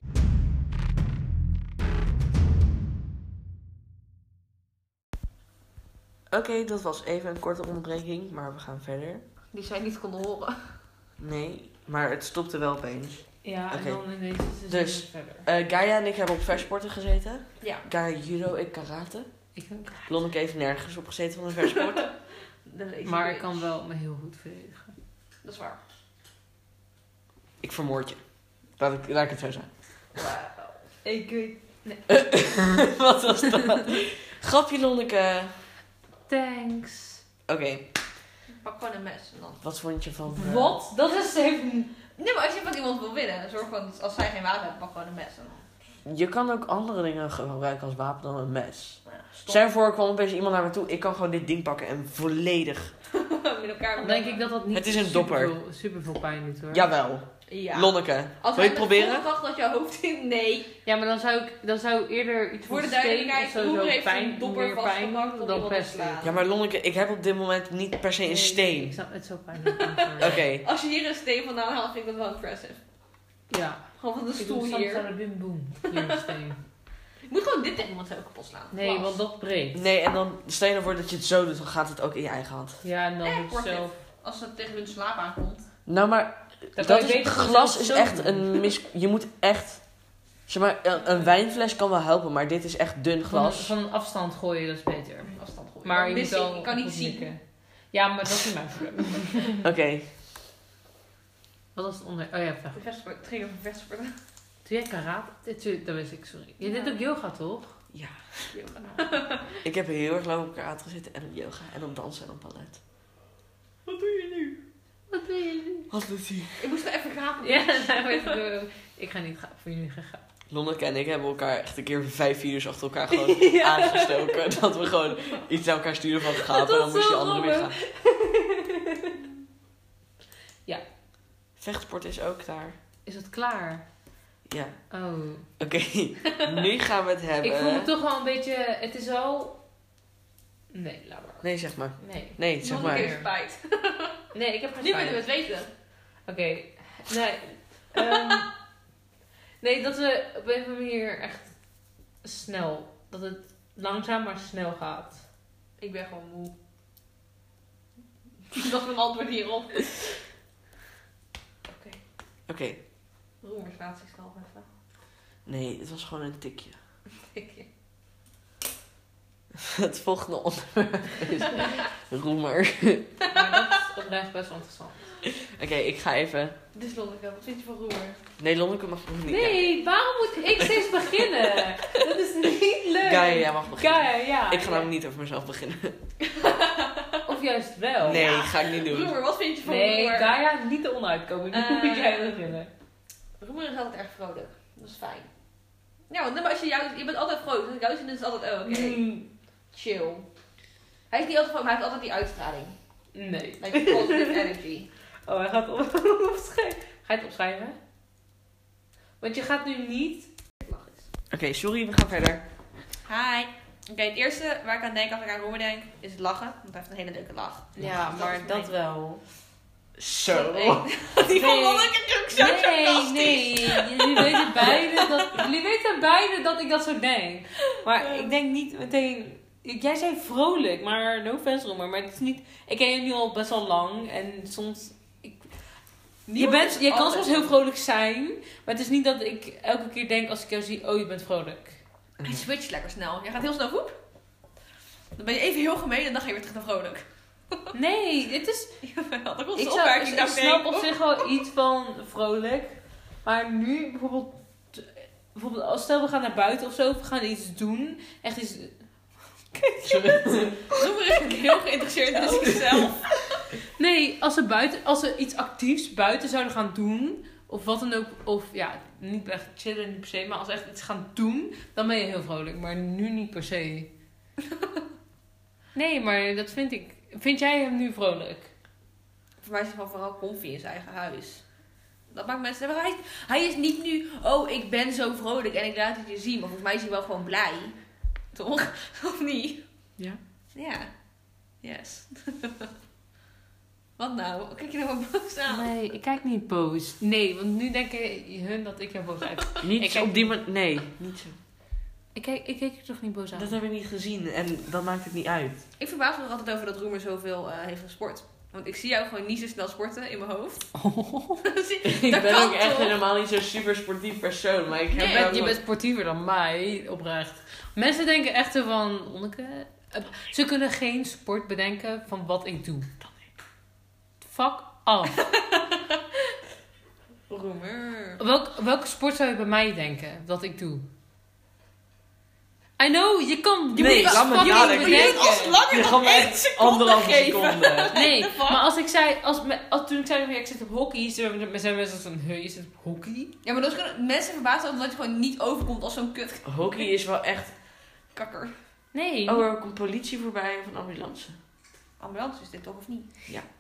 [SPEAKER 1] Oké, dat was even een korte onderbreking, maar we gaan verder.
[SPEAKER 3] Die zij niet konden horen.
[SPEAKER 1] Nee, maar het stopte wel opeens.
[SPEAKER 4] Ja,
[SPEAKER 1] Oké.
[SPEAKER 4] en dan in deze seizoen
[SPEAKER 1] Dus.
[SPEAKER 4] verder.
[SPEAKER 1] Eh Gaia en ik hebben op versporten gezeten.
[SPEAKER 3] Ja.
[SPEAKER 1] Gaia judo, ik karate.
[SPEAKER 4] Ik ook.
[SPEAKER 1] Lonneke heeft nergens op gezeten van een versport.
[SPEAKER 4] Maar ik kan wel me heel goed verdedigen.
[SPEAKER 3] Dat is waar.
[SPEAKER 1] ik vermoord je. Laat ik, laat ik het zo zeggen.
[SPEAKER 3] Wauw. Ik weet...
[SPEAKER 1] Wat was dat? Grapje, Lonneke.
[SPEAKER 4] Thanks.
[SPEAKER 1] Oké,
[SPEAKER 3] Pak gewoon een mes en dan...
[SPEAKER 1] wat vond je van... eh,
[SPEAKER 4] Wat? Dat is even...
[SPEAKER 3] Nee, maar als je van iemand wil winnen, zorg gewoon dat als zij geen wapen hebben, pak gewoon een mes en dan...
[SPEAKER 1] Je kan ook andere dingen gebruiken als wapen dan een mes.
[SPEAKER 3] Nou, ja, stop.
[SPEAKER 1] Zijn voor kwam opeens iemand naar me toe. Ik kan gewoon dit ding pakken en volledig...
[SPEAKER 3] Met elkaar
[SPEAKER 4] Dan denk ik dat dat niet
[SPEAKER 1] Het is een
[SPEAKER 4] super
[SPEAKER 1] dopper.
[SPEAKER 4] Veel, super veel pijn doet hoor.
[SPEAKER 1] Jawel.
[SPEAKER 3] Ja.
[SPEAKER 1] Lonneke.
[SPEAKER 3] Als
[SPEAKER 1] Wil je het proberen?
[SPEAKER 3] Ik dacht dat jouw hoofd in. Nee.
[SPEAKER 4] Ja, maar dan zou ik dan zou eerder iets
[SPEAKER 3] Voor de
[SPEAKER 4] van steen
[SPEAKER 3] duidelijkheid,
[SPEAKER 4] of zo,
[SPEAKER 3] Roemer
[SPEAKER 4] zo
[SPEAKER 3] heeft
[SPEAKER 4] pijn,
[SPEAKER 3] een dopper
[SPEAKER 4] meer pijn
[SPEAKER 3] vastgepakt om
[SPEAKER 4] dan
[SPEAKER 3] iemand te
[SPEAKER 4] pesting.
[SPEAKER 3] slaan.
[SPEAKER 1] Ja, maar Lonneke, ik heb op dit moment niet per se
[SPEAKER 4] Nee,
[SPEAKER 1] een
[SPEAKER 4] Ik
[SPEAKER 1] steen.
[SPEAKER 4] snap het zo pijn. doet. I'm sorry.
[SPEAKER 1] Oké.
[SPEAKER 3] Als je hier een steen vandaan haalt, vind ik dat wel impressive.
[SPEAKER 4] Ja.
[SPEAKER 3] Gewoon van de
[SPEAKER 4] Ik doe
[SPEAKER 3] stoel
[SPEAKER 4] soms aan
[SPEAKER 3] hier.
[SPEAKER 4] een bim boem. Hier een steen.
[SPEAKER 3] Ik moet gewoon dit tegen iemand zo kapot slaan.
[SPEAKER 4] Nee,
[SPEAKER 3] Plas.
[SPEAKER 4] want dat breekt.
[SPEAKER 1] Nee, en dan stel je ervoor dat je het zo doet, dan gaat het ook in je eigen hand.
[SPEAKER 4] Ja, en dan
[SPEAKER 3] Eh,
[SPEAKER 4] doe ik
[SPEAKER 3] wordt
[SPEAKER 4] zelf.
[SPEAKER 3] Als het tegen hun slaap aankomt.
[SPEAKER 1] Nou, maar
[SPEAKER 4] Dan kan
[SPEAKER 1] dat
[SPEAKER 4] je
[SPEAKER 1] is,
[SPEAKER 4] beter gewoon
[SPEAKER 1] glas
[SPEAKER 4] zelf
[SPEAKER 1] is
[SPEAKER 4] zo
[SPEAKER 1] echt
[SPEAKER 4] doen.
[SPEAKER 1] een mis... Je moet echt... Zeg maar, een, een wijnfles kan wel helpen, maar dit is echt dun
[SPEAKER 4] Van,
[SPEAKER 1] glas.
[SPEAKER 4] van een afstand gooien, dat is beter.
[SPEAKER 3] Afstand gooien.
[SPEAKER 4] Maar
[SPEAKER 3] Dan
[SPEAKER 4] je
[SPEAKER 3] mis
[SPEAKER 4] moet wel
[SPEAKER 3] ik, ik kan niet
[SPEAKER 4] goed
[SPEAKER 3] zien.
[SPEAKER 4] mikken. Ja, maar dat is niet mijn probleem.
[SPEAKER 1] Oké.
[SPEAKER 4] Wat was het onder... Oh ja, vraag.
[SPEAKER 3] De vechtsport- Het ging over vechtsporten.
[SPEAKER 4] Toen jij karate... eh, tu- Dat wist ik, sorry. Je deed ook yoga, toch?
[SPEAKER 1] Ja.
[SPEAKER 4] Yoga.
[SPEAKER 1] Ik heb heel erg lang op karate gezeten en op yoga en op dansen en op ballet.
[SPEAKER 3] Wat doe je nu?
[SPEAKER 4] Wat wil je nu?
[SPEAKER 1] Wat doet hij?
[SPEAKER 3] Ik moest wel even gapen.
[SPEAKER 4] Ja, daar werd ik nou, door. Ik ga niet gaan voor jullie gaan gaan.
[SPEAKER 1] Lonneke en ik hebben elkaar echt een keer vijf video's achter elkaar gewoon aangestoken. Dat we gewoon iets naar elkaar sturen van gaap en dan
[SPEAKER 4] Dat was
[SPEAKER 1] moest je
[SPEAKER 4] zo
[SPEAKER 1] andere weer gaan.
[SPEAKER 4] Ja.
[SPEAKER 1] Vechtsport is ook daar.
[SPEAKER 4] Is het klaar?
[SPEAKER 1] Ja.
[SPEAKER 4] Oh.
[SPEAKER 1] Oké, nu gaan we het hebben.
[SPEAKER 4] Ik voel me toch wel een beetje. Het is al. Nee, laat maar.
[SPEAKER 1] Nee, zeg maar.
[SPEAKER 4] Nee.
[SPEAKER 1] Nee, zeg
[SPEAKER 3] Nog een
[SPEAKER 1] maar.
[SPEAKER 3] keer spijt.
[SPEAKER 4] Nee, ik heb geen
[SPEAKER 3] Nu
[SPEAKER 4] spijt.
[SPEAKER 3] willen we het weten.
[SPEAKER 4] Oké. Nee. ehm, nee, dat we op een of andere manier echt snel. Dat het langzaam maar snel gaat.
[SPEAKER 3] Ik ben gewoon moe. Dat is mijn antwoord hierop.
[SPEAKER 1] Oké,
[SPEAKER 3] Roemers laat ik snel even.
[SPEAKER 1] nee, het was gewoon een tikje.
[SPEAKER 3] Tikje.
[SPEAKER 1] Het volgende onderwerp is roemer.
[SPEAKER 4] Maar dat is oprecht best wel interessant.
[SPEAKER 1] Oké, ik ga even.
[SPEAKER 3] Dus Lonneke, wat vind je van roemer?
[SPEAKER 1] Nee, Lonneke mag nog niet.
[SPEAKER 4] Nee, waarom moet ik steeds beginnen? Dat is niet leuk.
[SPEAKER 1] Gaia, jij mag beginnen.
[SPEAKER 4] Gaia, ja.
[SPEAKER 1] Ik ga namelijk niet over mezelf beginnen.
[SPEAKER 4] Of juist wel.
[SPEAKER 1] nee, ga ik niet doen.
[SPEAKER 3] Roemer, wat vind je van
[SPEAKER 4] Nee,
[SPEAKER 3] roemer?
[SPEAKER 4] Gaia, niet de onuitkomen. Nu
[SPEAKER 3] Eh.
[SPEAKER 4] moet jij beginnen.
[SPEAKER 3] Roemer is altijd erg vrolijk. Dat is fijn. Ja, want maar als je jou... Je bent altijd vrolijk. Als ik jou zie, dan is het altijd... Oh, oké.
[SPEAKER 4] Mm,
[SPEAKER 3] Chill. Hij is niet altijd vrolijk, maar hij heeft altijd die uitstraling.
[SPEAKER 4] Nee.
[SPEAKER 3] Like positive energy.
[SPEAKER 4] Oh, hij gaat op- opschrijven. Ga je het opschrijven? Want je gaat nu niet...
[SPEAKER 3] Lach eens.
[SPEAKER 1] Oké, sorry, we gaan verder.
[SPEAKER 3] Hi. Oké, het eerste waar ik aan denk als ik aan roemer denk, is het lachen. Want hij heeft een hele leuke lach. Dus is mijn-
[SPEAKER 4] wel.
[SPEAKER 1] Zo.
[SPEAKER 3] Die van
[SPEAKER 4] Nee.
[SPEAKER 3] Lonneke is ook zo
[SPEAKER 4] Nee,
[SPEAKER 3] sarcastisch.
[SPEAKER 4] nee. Jullie weten, beide dat, jullie weten beide dat ik dat zo denk. Maar ik denk niet meteen... Jij zei vrolijk, maar no offense, Roemer. Maar het is niet... Ik ken je nu al best wel lang. En soms... Ik, je
[SPEAKER 3] Niemand
[SPEAKER 4] bent,
[SPEAKER 3] is
[SPEAKER 4] je kan
[SPEAKER 3] altijd
[SPEAKER 4] soms heel vrolijk zijn. Maar het is niet dat ik elke keer denk als ik jou zie... Oh, je bent vrolijk.
[SPEAKER 3] Hij switcht lekker snel. Jij gaat heel snel woep. Dan ben je even heel gemeen en dan ga je weer terug naar vrolijk.
[SPEAKER 4] Nee, dit is...
[SPEAKER 3] Jawel, dan komt
[SPEAKER 4] Ik,
[SPEAKER 3] de
[SPEAKER 4] zou,
[SPEAKER 3] opmerking.
[SPEAKER 4] ik,
[SPEAKER 3] dat
[SPEAKER 4] snap
[SPEAKER 3] denk,
[SPEAKER 4] op zich wel iets van vrolijk. Maar nu bijvoorbeeld... Bijvoorbeeld, als stel we gaan naar buiten of zo, of we gaan iets doen. Echt iets
[SPEAKER 3] Roemer is ook heel geïnteresseerd in
[SPEAKER 4] Oh.
[SPEAKER 3] zichzelf.
[SPEAKER 4] Nee, als ze, buiten, als ze iets actiefs buiten zouden gaan doen, of wat dan ook, of ja, niet echt chillen, niet per se, maar als ze echt iets gaan doen, dan ben je heel vrolijk, maar nu niet per se. nee, maar dat vind ik. Vind jij hem nu vrolijk?
[SPEAKER 3] Voor mij is hij gewoon vooral comfy in zijn eigen huis. Dat maakt mensen... Maar hij, hij is niet nu... Oh, ik ben zo vrolijk en ik laat het je zien. Maar volgens mij is hij wel gewoon blij. Toch? Of niet?
[SPEAKER 2] Ja.
[SPEAKER 3] Ja. Yes. Wat nou? Kijk je nou wat boos aan?
[SPEAKER 4] Nee, ik kijk niet boos. Nee, want nu denken hun dat ik jou boos uit. Ik
[SPEAKER 1] Niet
[SPEAKER 4] kijk-
[SPEAKER 1] op die manier. Nee, niet zo.
[SPEAKER 4] Ik kijk, ik kijk er toch niet boos aan.
[SPEAKER 1] Dat hebben we niet gezien en dat maakt het niet uit.
[SPEAKER 3] Ik verbaas me er altijd over dat Roemer zoveel eh, heeft gesport. Want ik zie jou gewoon niet zo snel sporten in mijn hoofd. Zie-
[SPEAKER 1] Oh. Ik
[SPEAKER 3] dat
[SPEAKER 1] ben
[SPEAKER 3] kan
[SPEAKER 1] ook echt
[SPEAKER 3] toch?
[SPEAKER 1] helemaal niet zo'n super sportief persoon, maar ik heb
[SPEAKER 4] Je
[SPEAKER 1] wel
[SPEAKER 4] bent, je
[SPEAKER 1] wat-
[SPEAKER 4] bent sportiever dan mij, oprecht. Mensen denken echt zo van, Onneke, eh, ze kunnen geen sport bedenken van wat ik doe. Fuck af.
[SPEAKER 3] Roemer.
[SPEAKER 4] Welk, welke sport zou je bij mij denken dat ik doe? I know, je kan je
[SPEAKER 1] Nee,
[SPEAKER 4] moet
[SPEAKER 1] laat me
[SPEAKER 4] fucking
[SPEAKER 1] nadenken.
[SPEAKER 3] Oh, Je doet als
[SPEAKER 4] bedenken.
[SPEAKER 3] langer
[SPEAKER 1] Je
[SPEAKER 3] dan
[SPEAKER 1] gaat me
[SPEAKER 3] één
[SPEAKER 1] echt
[SPEAKER 3] seconde
[SPEAKER 1] anderhalve
[SPEAKER 3] geven.
[SPEAKER 1] seconde.
[SPEAKER 4] Nee, maar als ik zei, als, me- als, toen ik zei, ik zit op hockey, zijn zijn mensen van, "Huh, je zit op hockey?
[SPEAKER 3] Ja, maar dat is gewoon, mensen verbazen omdat je gewoon niet overkomt als zo'n kut
[SPEAKER 1] Hockey is wel echt...
[SPEAKER 3] kakker.
[SPEAKER 4] Nee.
[SPEAKER 1] Oh, er komt politie voorbij of een ambulance.
[SPEAKER 3] Ambulance is dit toch of niet?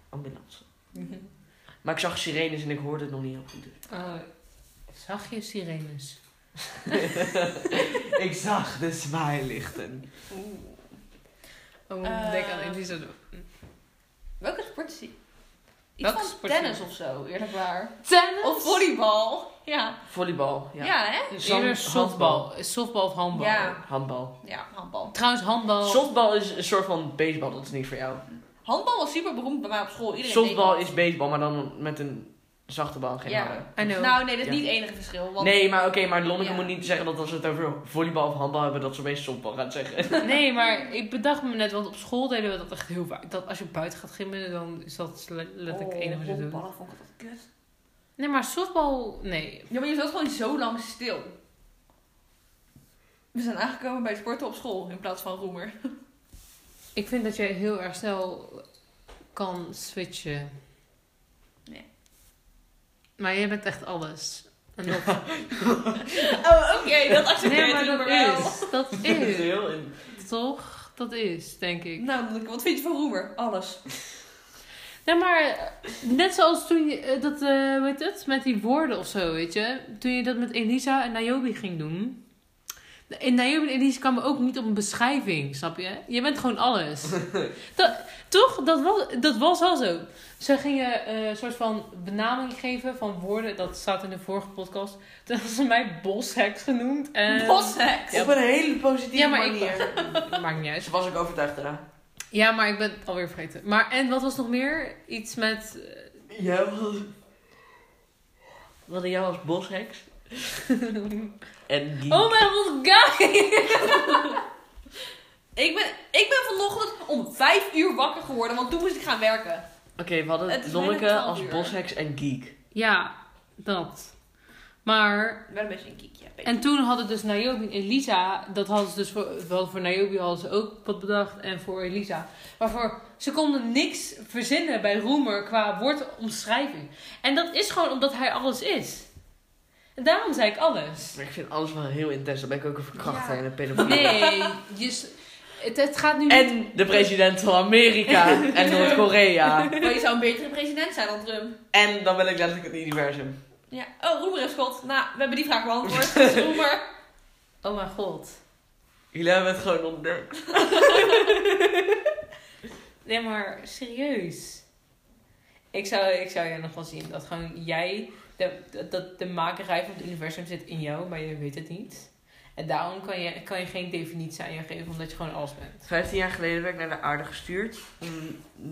[SPEAKER 1] Ambulance.
[SPEAKER 4] Mhm.
[SPEAKER 1] Maar ik zag sirenes en ik hoorde het nog niet heel goed.
[SPEAKER 4] Oh, zag je sirenes?
[SPEAKER 1] ik zag de zwaailichten.
[SPEAKER 3] Oeh.
[SPEAKER 4] Oh,
[SPEAKER 3] Eh,
[SPEAKER 4] denk aan Elisa.
[SPEAKER 3] Welke sport is die? Iets
[SPEAKER 4] Welke
[SPEAKER 3] van
[SPEAKER 4] sport is
[SPEAKER 3] tennis of zo, eerlijk waar.
[SPEAKER 4] Tennis?
[SPEAKER 3] Of volleybal. Ja.
[SPEAKER 1] Volleybal,
[SPEAKER 3] Ja,
[SPEAKER 1] ja.
[SPEAKER 3] hè?
[SPEAKER 1] Zand-
[SPEAKER 4] Eerder softbal. Softbal of handbal.
[SPEAKER 3] Ja.
[SPEAKER 1] Handbal.
[SPEAKER 3] Ja, handbal.
[SPEAKER 4] Trouwens,
[SPEAKER 3] Oh.
[SPEAKER 4] handbal...
[SPEAKER 1] Softbal is een soort van baseball, dat is niet voor jou.
[SPEAKER 3] Handbal was super beroemd bij mij op school. Iedereen
[SPEAKER 1] Softbal
[SPEAKER 3] deed
[SPEAKER 1] is baseball, maar dan met een zachte bal, geen
[SPEAKER 3] Ja.
[SPEAKER 1] harde.
[SPEAKER 4] I
[SPEAKER 3] dat.
[SPEAKER 4] know.
[SPEAKER 3] Nou, nee, dat is
[SPEAKER 1] Ja.
[SPEAKER 3] niet het enige verschil. Want
[SPEAKER 1] Nee, maar oké, maar Lonneke
[SPEAKER 3] Ja.
[SPEAKER 1] moet niet zeggen dat als we het over volleybal of handbal hebben, dat ze opeens softbal gaat zeggen.
[SPEAKER 4] nee, maar ik bedacht me net, want op school deden we dat echt heel vaak. Dat als je buiten gaat gimmen, dan is dat le- letterlijk het enige wat je doet.
[SPEAKER 3] Handballen Oh, vond ik altijd kut.
[SPEAKER 4] Nee, maar softbal... Nee.
[SPEAKER 3] Ja, maar je zat gewoon zo lang stil. We zijn aangekomen bij het sporten op school in plaats van roemer.
[SPEAKER 4] Ik vind dat je heel erg snel kan switchen.
[SPEAKER 3] Nee.
[SPEAKER 4] Maar jij bent echt alles.
[SPEAKER 2] En dat,
[SPEAKER 3] Oh, oké, dat accepteer
[SPEAKER 2] nee,
[SPEAKER 3] je
[SPEAKER 2] maar dat
[SPEAKER 3] maar wel.
[SPEAKER 2] is. Dat
[SPEAKER 4] Dat is
[SPEAKER 2] is.
[SPEAKER 4] heel in.
[SPEAKER 2] Toch? Dat is, denk ik.
[SPEAKER 3] Nou, Lonneke, wat vind je van Roemer? Alles.
[SPEAKER 2] Nee, maar eh, net zoals toen je eh, dat, eh weet het, met die woorden of zo, weet je. Toen je dat met Elisa en Naomi ging doen. In Naomi en Elisa kwamen ook niet op een beschrijving, snap je? Je bent gewoon alles. dat, toch? Dat was, dat was wel zo. Ze gingen eh, een soort van benaming geven van woorden. Dat staat in de vorige podcast. Toen hadden ze mij bosheks genoemd.
[SPEAKER 4] Eh,
[SPEAKER 2] En...
[SPEAKER 3] Bosheks.
[SPEAKER 2] Ja.
[SPEAKER 1] Op een hele positieve
[SPEAKER 2] Ja, maar ik-
[SPEAKER 1] manier.
[SPEAKER 2] Maakt niet uit.
[SPEAKER 1] Ze was ook overtuigd daarna.
[SPEAKER 2] Ja, maar ik ben het alweer vergeten. Maar en wat was nog meer? Iets met...
[SPEAKER 1] Ja, wat... Wat jou als bosheks. en die...
[SPEAKER 2] Oh mijn god,
[SPEAKER 3] Ik ben, ik ben vanochtend om vijf uur wakker geworden, want toen moest ik gaan werken.
[SPEAKER 1] Oké, we hadden
[SPEAKER 3] Het is
[SPEAKER 1] Lonneke
[SPEAKER 3] bijna 12
[SPEAKER 1] als
[SPEAKER 3] uur.
[SPEAKER 1] bosheks en geek.
[SPEAKER 2] Ja, dat. Maar,
[SPEAKER 3] Wel een beetje een kiekje.
[SPEAKER 2] en toen hadden dus Naomi en Elisa, dat hadden ze dus voor, wel voor Naomi hadden ze ook wat bedacht en voor Elisa. Maar voor, ze konden niks verzinnen bij Roemer qua woordomschrijving. En dat is gewoon omdat hij alles is. En daarom zei ik alles.
[SPEAKER 1] Maar ik vind alles wel heel intens. Dan ben ik ook een verkrachter
[SPEAKER 3] Ja.
[SPEAKER 1] en een pedofiel.
[SPEAKER 2] Nee, je, s- het, het gaat nu niet...
[SPEAKER 1] En de president van Amerika en Noord-Korea.
[SPEAKER 3] Maar je zou een betere president zijn dan Trump.
[SPEAKER 1] En dan ben ik letterlijk het universum.
[SPEAKER 3] Ja. Oh, Roemer is God. Nou, we hebben die vraag beantwoord. Dus Roemer.
[SPEAKER 2] Oh mijn god.
[SPEAKER 1] Jullie hebben het gewoon onder.
[SPEAKER 4] Nee, maar serieus. Ik zou, ik zou je nog wel zien dat gewoon jij, de, de- dat de makerij van het universum zit in jou, maar je weet het niet. En daarom kan je, kan je geen definitie aan je geven, omdat je gewoon alles bent.
[SPEAKER 1] 15 jaar geleden werd ik naar de aarde gestuurd om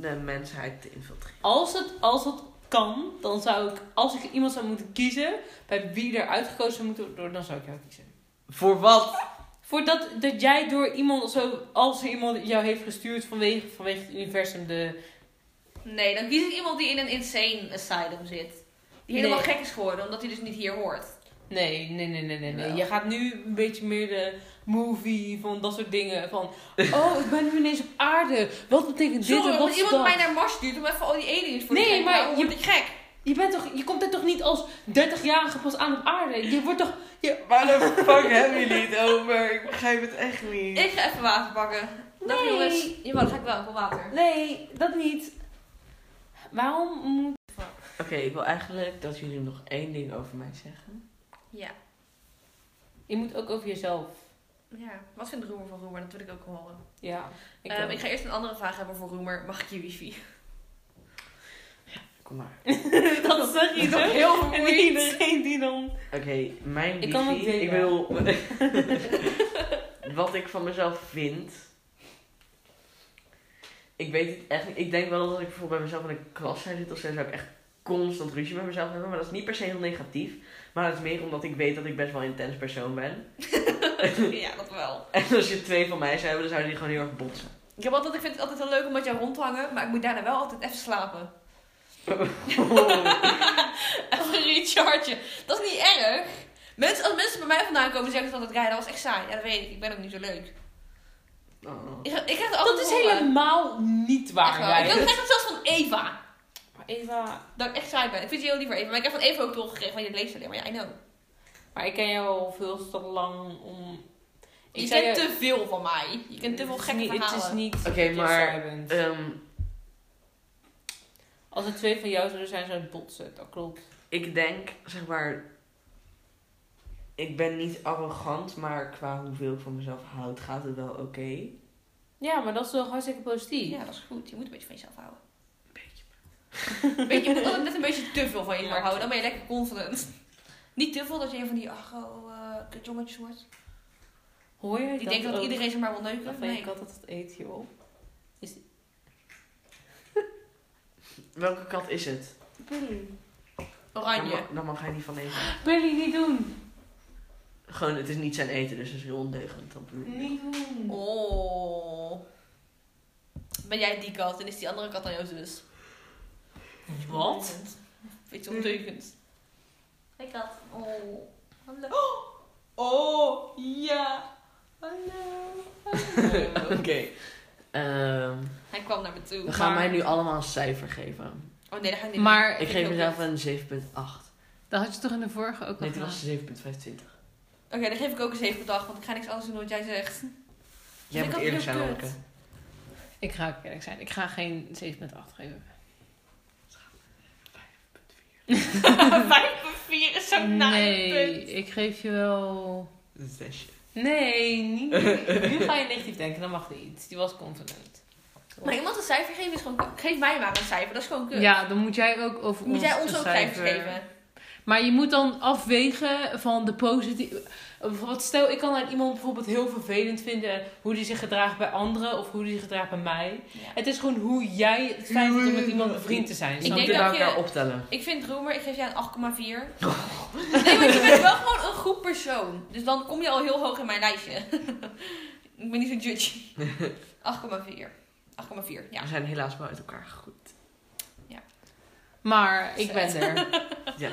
[SPEAKER 1] de mensheid te infiltreren.
[SPEAKER 4] Als het, als het kan, dan zou ik, als ik iemand zou moeten kiezen, bij wie er uitgekozen zou moeten worden, dan zou ik jou kiezen.
[SPEAKER 1] Voor wat?
[SPEAKER 4] Voordat dat jij door iemand, zo, als er iemand jou heeft gestuurd vanwege, vanwege het universum, de...
[SPEAKER 3] Nee, dan kies ik iemand die in een insane asylum zit. Die helemaal
[SPEAKER 4] Nee.
[SPEAKER 3] gek is geworden, omdat hij dus niet hier hoort.
[SPEAKER 4] Nee, nee, nee, nee, nee. nee.
[SPEAKER 3] Wel.
[SPEAKER 4] Je gaat nu een beetje meer de movie van dat soort dingen. Van, oh, ik ben nu ineens op aarde. Wat betekent dit
[SPEAKER 3] Sorry,
[SPEAKER 4] en
[SPEAKER 3] omdat
[SPEAKER 4] wat is
[SPEAKER 3] iemand
[SPEAKER 4] dat?
[SPEAKER 3] mij naar Mars stuurt om even al die aliens voor te
[SPEAKER 4] Nee,
[SPEAKER 3] kijken.
[SPEAKER 4] maar
[SPEAKER 3] Nou,
[SPEAKER 4] je-
[SPEAKER 3] word ik gek.
[SPEAKER 4] Je, bent toch, je komt er toch niet als 30-jarige pas aan op aarde? Je wordt toch... Je...
[SPEAKER 1] Waar de fuck hebben jullie het over? Ik begrijp het echt niet.
[SPEAKER 3] Ik ga even water pakken. Dag
[SPEAKER 4] Nee.
[SPEAKER 3] jongens. Jawel, dan ga ik wel even water.
[SPEAKER 4] Nee, dat niet. Waarom moet...
[SPEAKER 1] Oké, ik wil eigenlijk dat jullie nog één ding over mij zeggen.
[SPEAKER 3] Ja.
[SPEAKER 4] Je moet ook over jezelf.
[SPEAKER 3] Ja. Wat vindt Roemer van Roemer? Dat wil ik ook horen.
[SPEAKER 4] Ja.
[SPEAKER 3] Ik,
[SPEAKER 4] Ehm, Ik ook.
[SPEAKER 3] ik ga eerst een andere vraag hebben voor Roemer. Mag ik je wifi?
[SPEAKER 1] Kom maar.
[SPEAKER 4] dat zeg je toch?
[SPEAKER 3] heel
[SPEAKER 4] En iedereen die dan...
[SPEAKER 1] Oké, mijn
[SPEAKER 4] Ik kan
[SPEAKER 1] wifi-
[SPEAKER 4] ook delen.
[SPEAKER 1] Ik wil... wat ik van mezelf vind... Ik weet het echt niet. Ik denk wel dat als ik bijvoorbeeld bij mezelf in een klas zou zitten of zo, zou ik echt constant ruzie met mezelf hebben. Maar dat is niet per se heel negatief. Maar dat is meer omdat ik weet dat ik best wel een intens persoon ben.
[SPEAKER 3] ja, dat wel.
[SPEAKER 1] En als je twee van mij zou hebben, dan zouden die gewoon heel erg botsen.
[SPEAKER 3] Ik, heb altijd, ik vind het altijd wel leuk om met jou rond te hangen, maar ik moet daarna wel altijd even slapen. Even rechargen. Dat is niet erg. Mensen, als mensen bij mij vandaan komen zeggen ze altijd, ja, dat was echt saai. Ja, dat weet ik. Ik ben ook niet zo leuk.
[SPEAKER 1] Oh.
[SPEAKER 3] Ik, ik krijg het altijd
[SPEAKER 4] Dat is
[SPEAKER 3] te horen.
[SPEAKER 4] helemaal niet
[SPEAKER 3] Echt
[SPEAKER 4] waar,
[SPEAKER 3] wel. Ik
[SPEAKER 4] jij.
[SPEAKER 3] krijg het zelfs van Eva.
[SPEAKER 4] Maar Eva...
[SPEAKER 3] Dat ik echt saai ben. Ik vind je heel liever even. Maar ik heb van even ook doorgekregen, want je leest alleen maar. Ja, I know.
[SPEAKER 4] Maar ik ken jou al veel te lang om.
[SPEAKER 3] Je
[SPEAKER 4] zei
[SPEAKER 3] kent te veel van mij. Je kent te veel
[SPEAKER 4] het is
[SPEAKER 3] gekke
[SPEAKER 4] niet-
[SPEAKER 3] verhalen.
[SPEAKER 4] Het is niet
[SPEAKER 1] Oké,
[SPEAKER 4] dat je
[SPEAKER 1] maar,
[SPEAKER 4] saai bent.
[SPEAKER 1] Ehm,
[SPEAKER 4] Als er twee van jou zouden zijn, zou het botsen. Dat klopt.
[SPEAKER 1] ik denk, zeg maar... Ik ben niet arrogant, maar qua hoeveel ik van mezelf houd, gaat het wel oké.
[SPEAKER 4] Ja, maar dat is toch hartstikke positief.
[SPEAKER 3] Ja, dat is goed. Je moet een beetje van jezelf houden. Een beetje. je moet altijd net een beetje te veel van jezelf
[SPEAKER 4] Ja.
[SPEAKER 3] houden. Dan ben je lekker confident. Niet te veel dat je een van die agro eh kutjongetjes wordt.
[SPEAKER 4] Hoor je?
[SPEAKER 3] Die denkt dat
[SPEAKER 4] ook?
[SPEAKER 3] iedereen ze maar wil
[SPEAKER 4] Dat
[SPEAKER 3] neuken.
[SPEAKER 4] van je
[SPEAKER 3] Nee.
[SPEAKER 4] kat dat het eet, joh.
[SPEAKER 1] Welke kat is het?
[SPEAKER 4] Billy.
[SPEAKER 1] Dan,
[SPEAKER 3] Oranje.
[SPEAKER 1] ma- dan mag hij niet van eten.
[SPEAKER 4] Billy, niet doen.
[SPEAKER 1] Gewoon, het is niet zijn eten, dus het is heel ondeugend. Dat bedoel ik.
[SPEAKER 4] Niet doen.
[SPEAKER 3] Oh. Ben jij die kat en is die andere kat dan jouw zus?
[SPEAKER 4] Wat?
[SPEAKER 3] Vind je ondeugend? Hey kat. Oh. Hallo.
[SPEAKER 4] Oh, ja. Hallo.
[SPEAKER 1] Oké. Ehm,
[SPEAKER 3] Hij kwam naar me toe.
[SPEAKER 1] we gaan
[SPEAKER 3] maar-
[SPEAKER 1] mij nu allemaal een cijfer geven.
[SPEAKER 3] Oh nee, dat ga ik niet
[SPEAKER 2] Maar
[SPEAKER 3] doen.
[SPEAKER 1] Ik
[SPEAKER 3] vind
[SPEAKER 1] geef mezelf
[SPEAKER 3] het heel
[SPEAKER 1] een 7,8.
[SPEAKER 4] Dat had je toch in de vorige ook al
[SPEAKER 1] Nee, die
[SPEAKER 4] gedaan?
[SPEAKER 1] was 7,25.
[SPEAKER 3] Oké, dan geef ik ook een 7 op de acht, want ik ga niks anders doen dan wat jij zegt.
[SPEAKER 1] Jij
[SPEAKER 3] Ik
[SPEAKER 1] moet
[SPEAKER 3] had
[SPEAKER 1] eerlijk
[SPEAKER 3] heel
[SPEAKER 1] zijn,
[SPEAKER 3] kut.
[SPEAKER 1] Lonneke.
[SPEAKER 4] Ik ga ook eerlijk zijn. Ik ga geen 7,8 geven.
[SPEAKER 3] 5,4 is zo'n
[SPEAKER 4] nee, ik geef je wel...
[SPEAKER 1] Een zesje.
[SPEAKER 4] Nee, niet.
[SPEAKER 5] Nu ga je negatief denken, dat mag niet. Die was confident.
[SPEAKER 3] Maar iemand een cijfer geven is gewoon kut. Geef mij maar een cijfer, dat is gewoon kut.
[SPEAKER 4] Ja, dan moet jij ook over
[SPEAKER 3] Moet
[SPEAKER 4] ons
[SPEAKER 3] jij ons
[SPEAKER 4] een
[SPEAKER 3] ook cijfers geven?
[SPEAKER 4] Maar je moet dan afwegen van de positieve... Bijvoorbeeld, stel ik kan aan iemand bijvoorbeeld heel vervelend vinden... hoe die zich gedraagt bij anderen of hoe die zich gedraagt bij mij. Het is gewoon hoe jij het fijn vindt om met iemand bevriend te zijn.
[SPEAKER 1] Ik
[SPEAKER 4] snap
[SPEAKER 1] denk
[SPEAKER 4] je?
[SPEAKER 1] dat
[SPEAKER 3] dat
[SPEAKER 1] elkaar
[SPEAKER 3] je-
[SPEAKER 1] optellen.
[SPEAKER 3] Ik vind Roemer, ik geef jij een 8,4.
[SPEAKER 4] Oh.
[SPEAKER 3] nee, want je bent wel gewoon een goed persoon. Dus dan kom je al heel hoog in mijn lijstje. ik ben niet zo'n judge. 8,4. 8,4, ja.
[SPEAKER 1] We zijn helaas wel uit elkaar gegroeid.
[SPEAKER 4] Maar ik ben er.
[SPEAKER 1] Ja.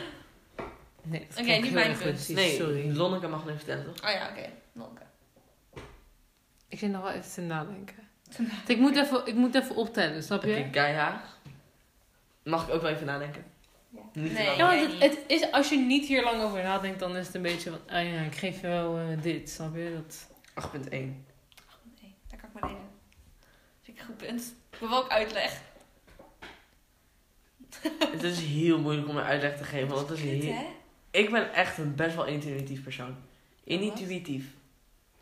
[SPEAKER 4] Nee, dat
[SPEAKER 3] Oké,
[SPEAKER 4] klonk
[SPEAKER 3] niet
[SPEAKER 4] heel
[SPEAKER 3] mijn
[SPEAKER 4] egoïstisch,
[SPEAKER 3] punt.
[SPEAKER 1] Nee,
[SPEAKER 4] Sorry.
[SPEAKER 1] Lonneke mag nu vertellen, toch?
[SPEAKER 3] Oh ja, oké. Nonke.
[SPEAKER 4] Ik zit nog wel even te nadenken. Want Ik moet even, ik moet even optellen, snap
[SPEAKER 1] Oké,
[SPEAKER 4] je?
[SPEAKER 1] Keihaag. Mag ik ook wel even nadenken?
[SPEAKER 3] Ja.
[SPEAKER 1] Niet
[SPEAKER 3] Nee.
[SPEAKER 1] te lang.
[SPEAKER 4] Ja, want het, het is, als je niet hier lang over nadenkt, dan is het een beetje van... Ah ja, ik geef je wel eh, dit, snap je? Dat...
[SPEAKER 1] 8,1.
[SPEAKER 3] Nee, daar kan ik maar delen. Vind ik een goed punt. Ik wil wel ook uitleg.
[SPEAKER 1] het is heel moeilijk om een uitleg te geven, want het is
[SPEAKER 3] Kut,
[SPEAKER 1] heel...
[SPEAKER 3] hè?
[SPEAKER 1] Ik ben echt een best wel intuïtief persoon. Intuïtief.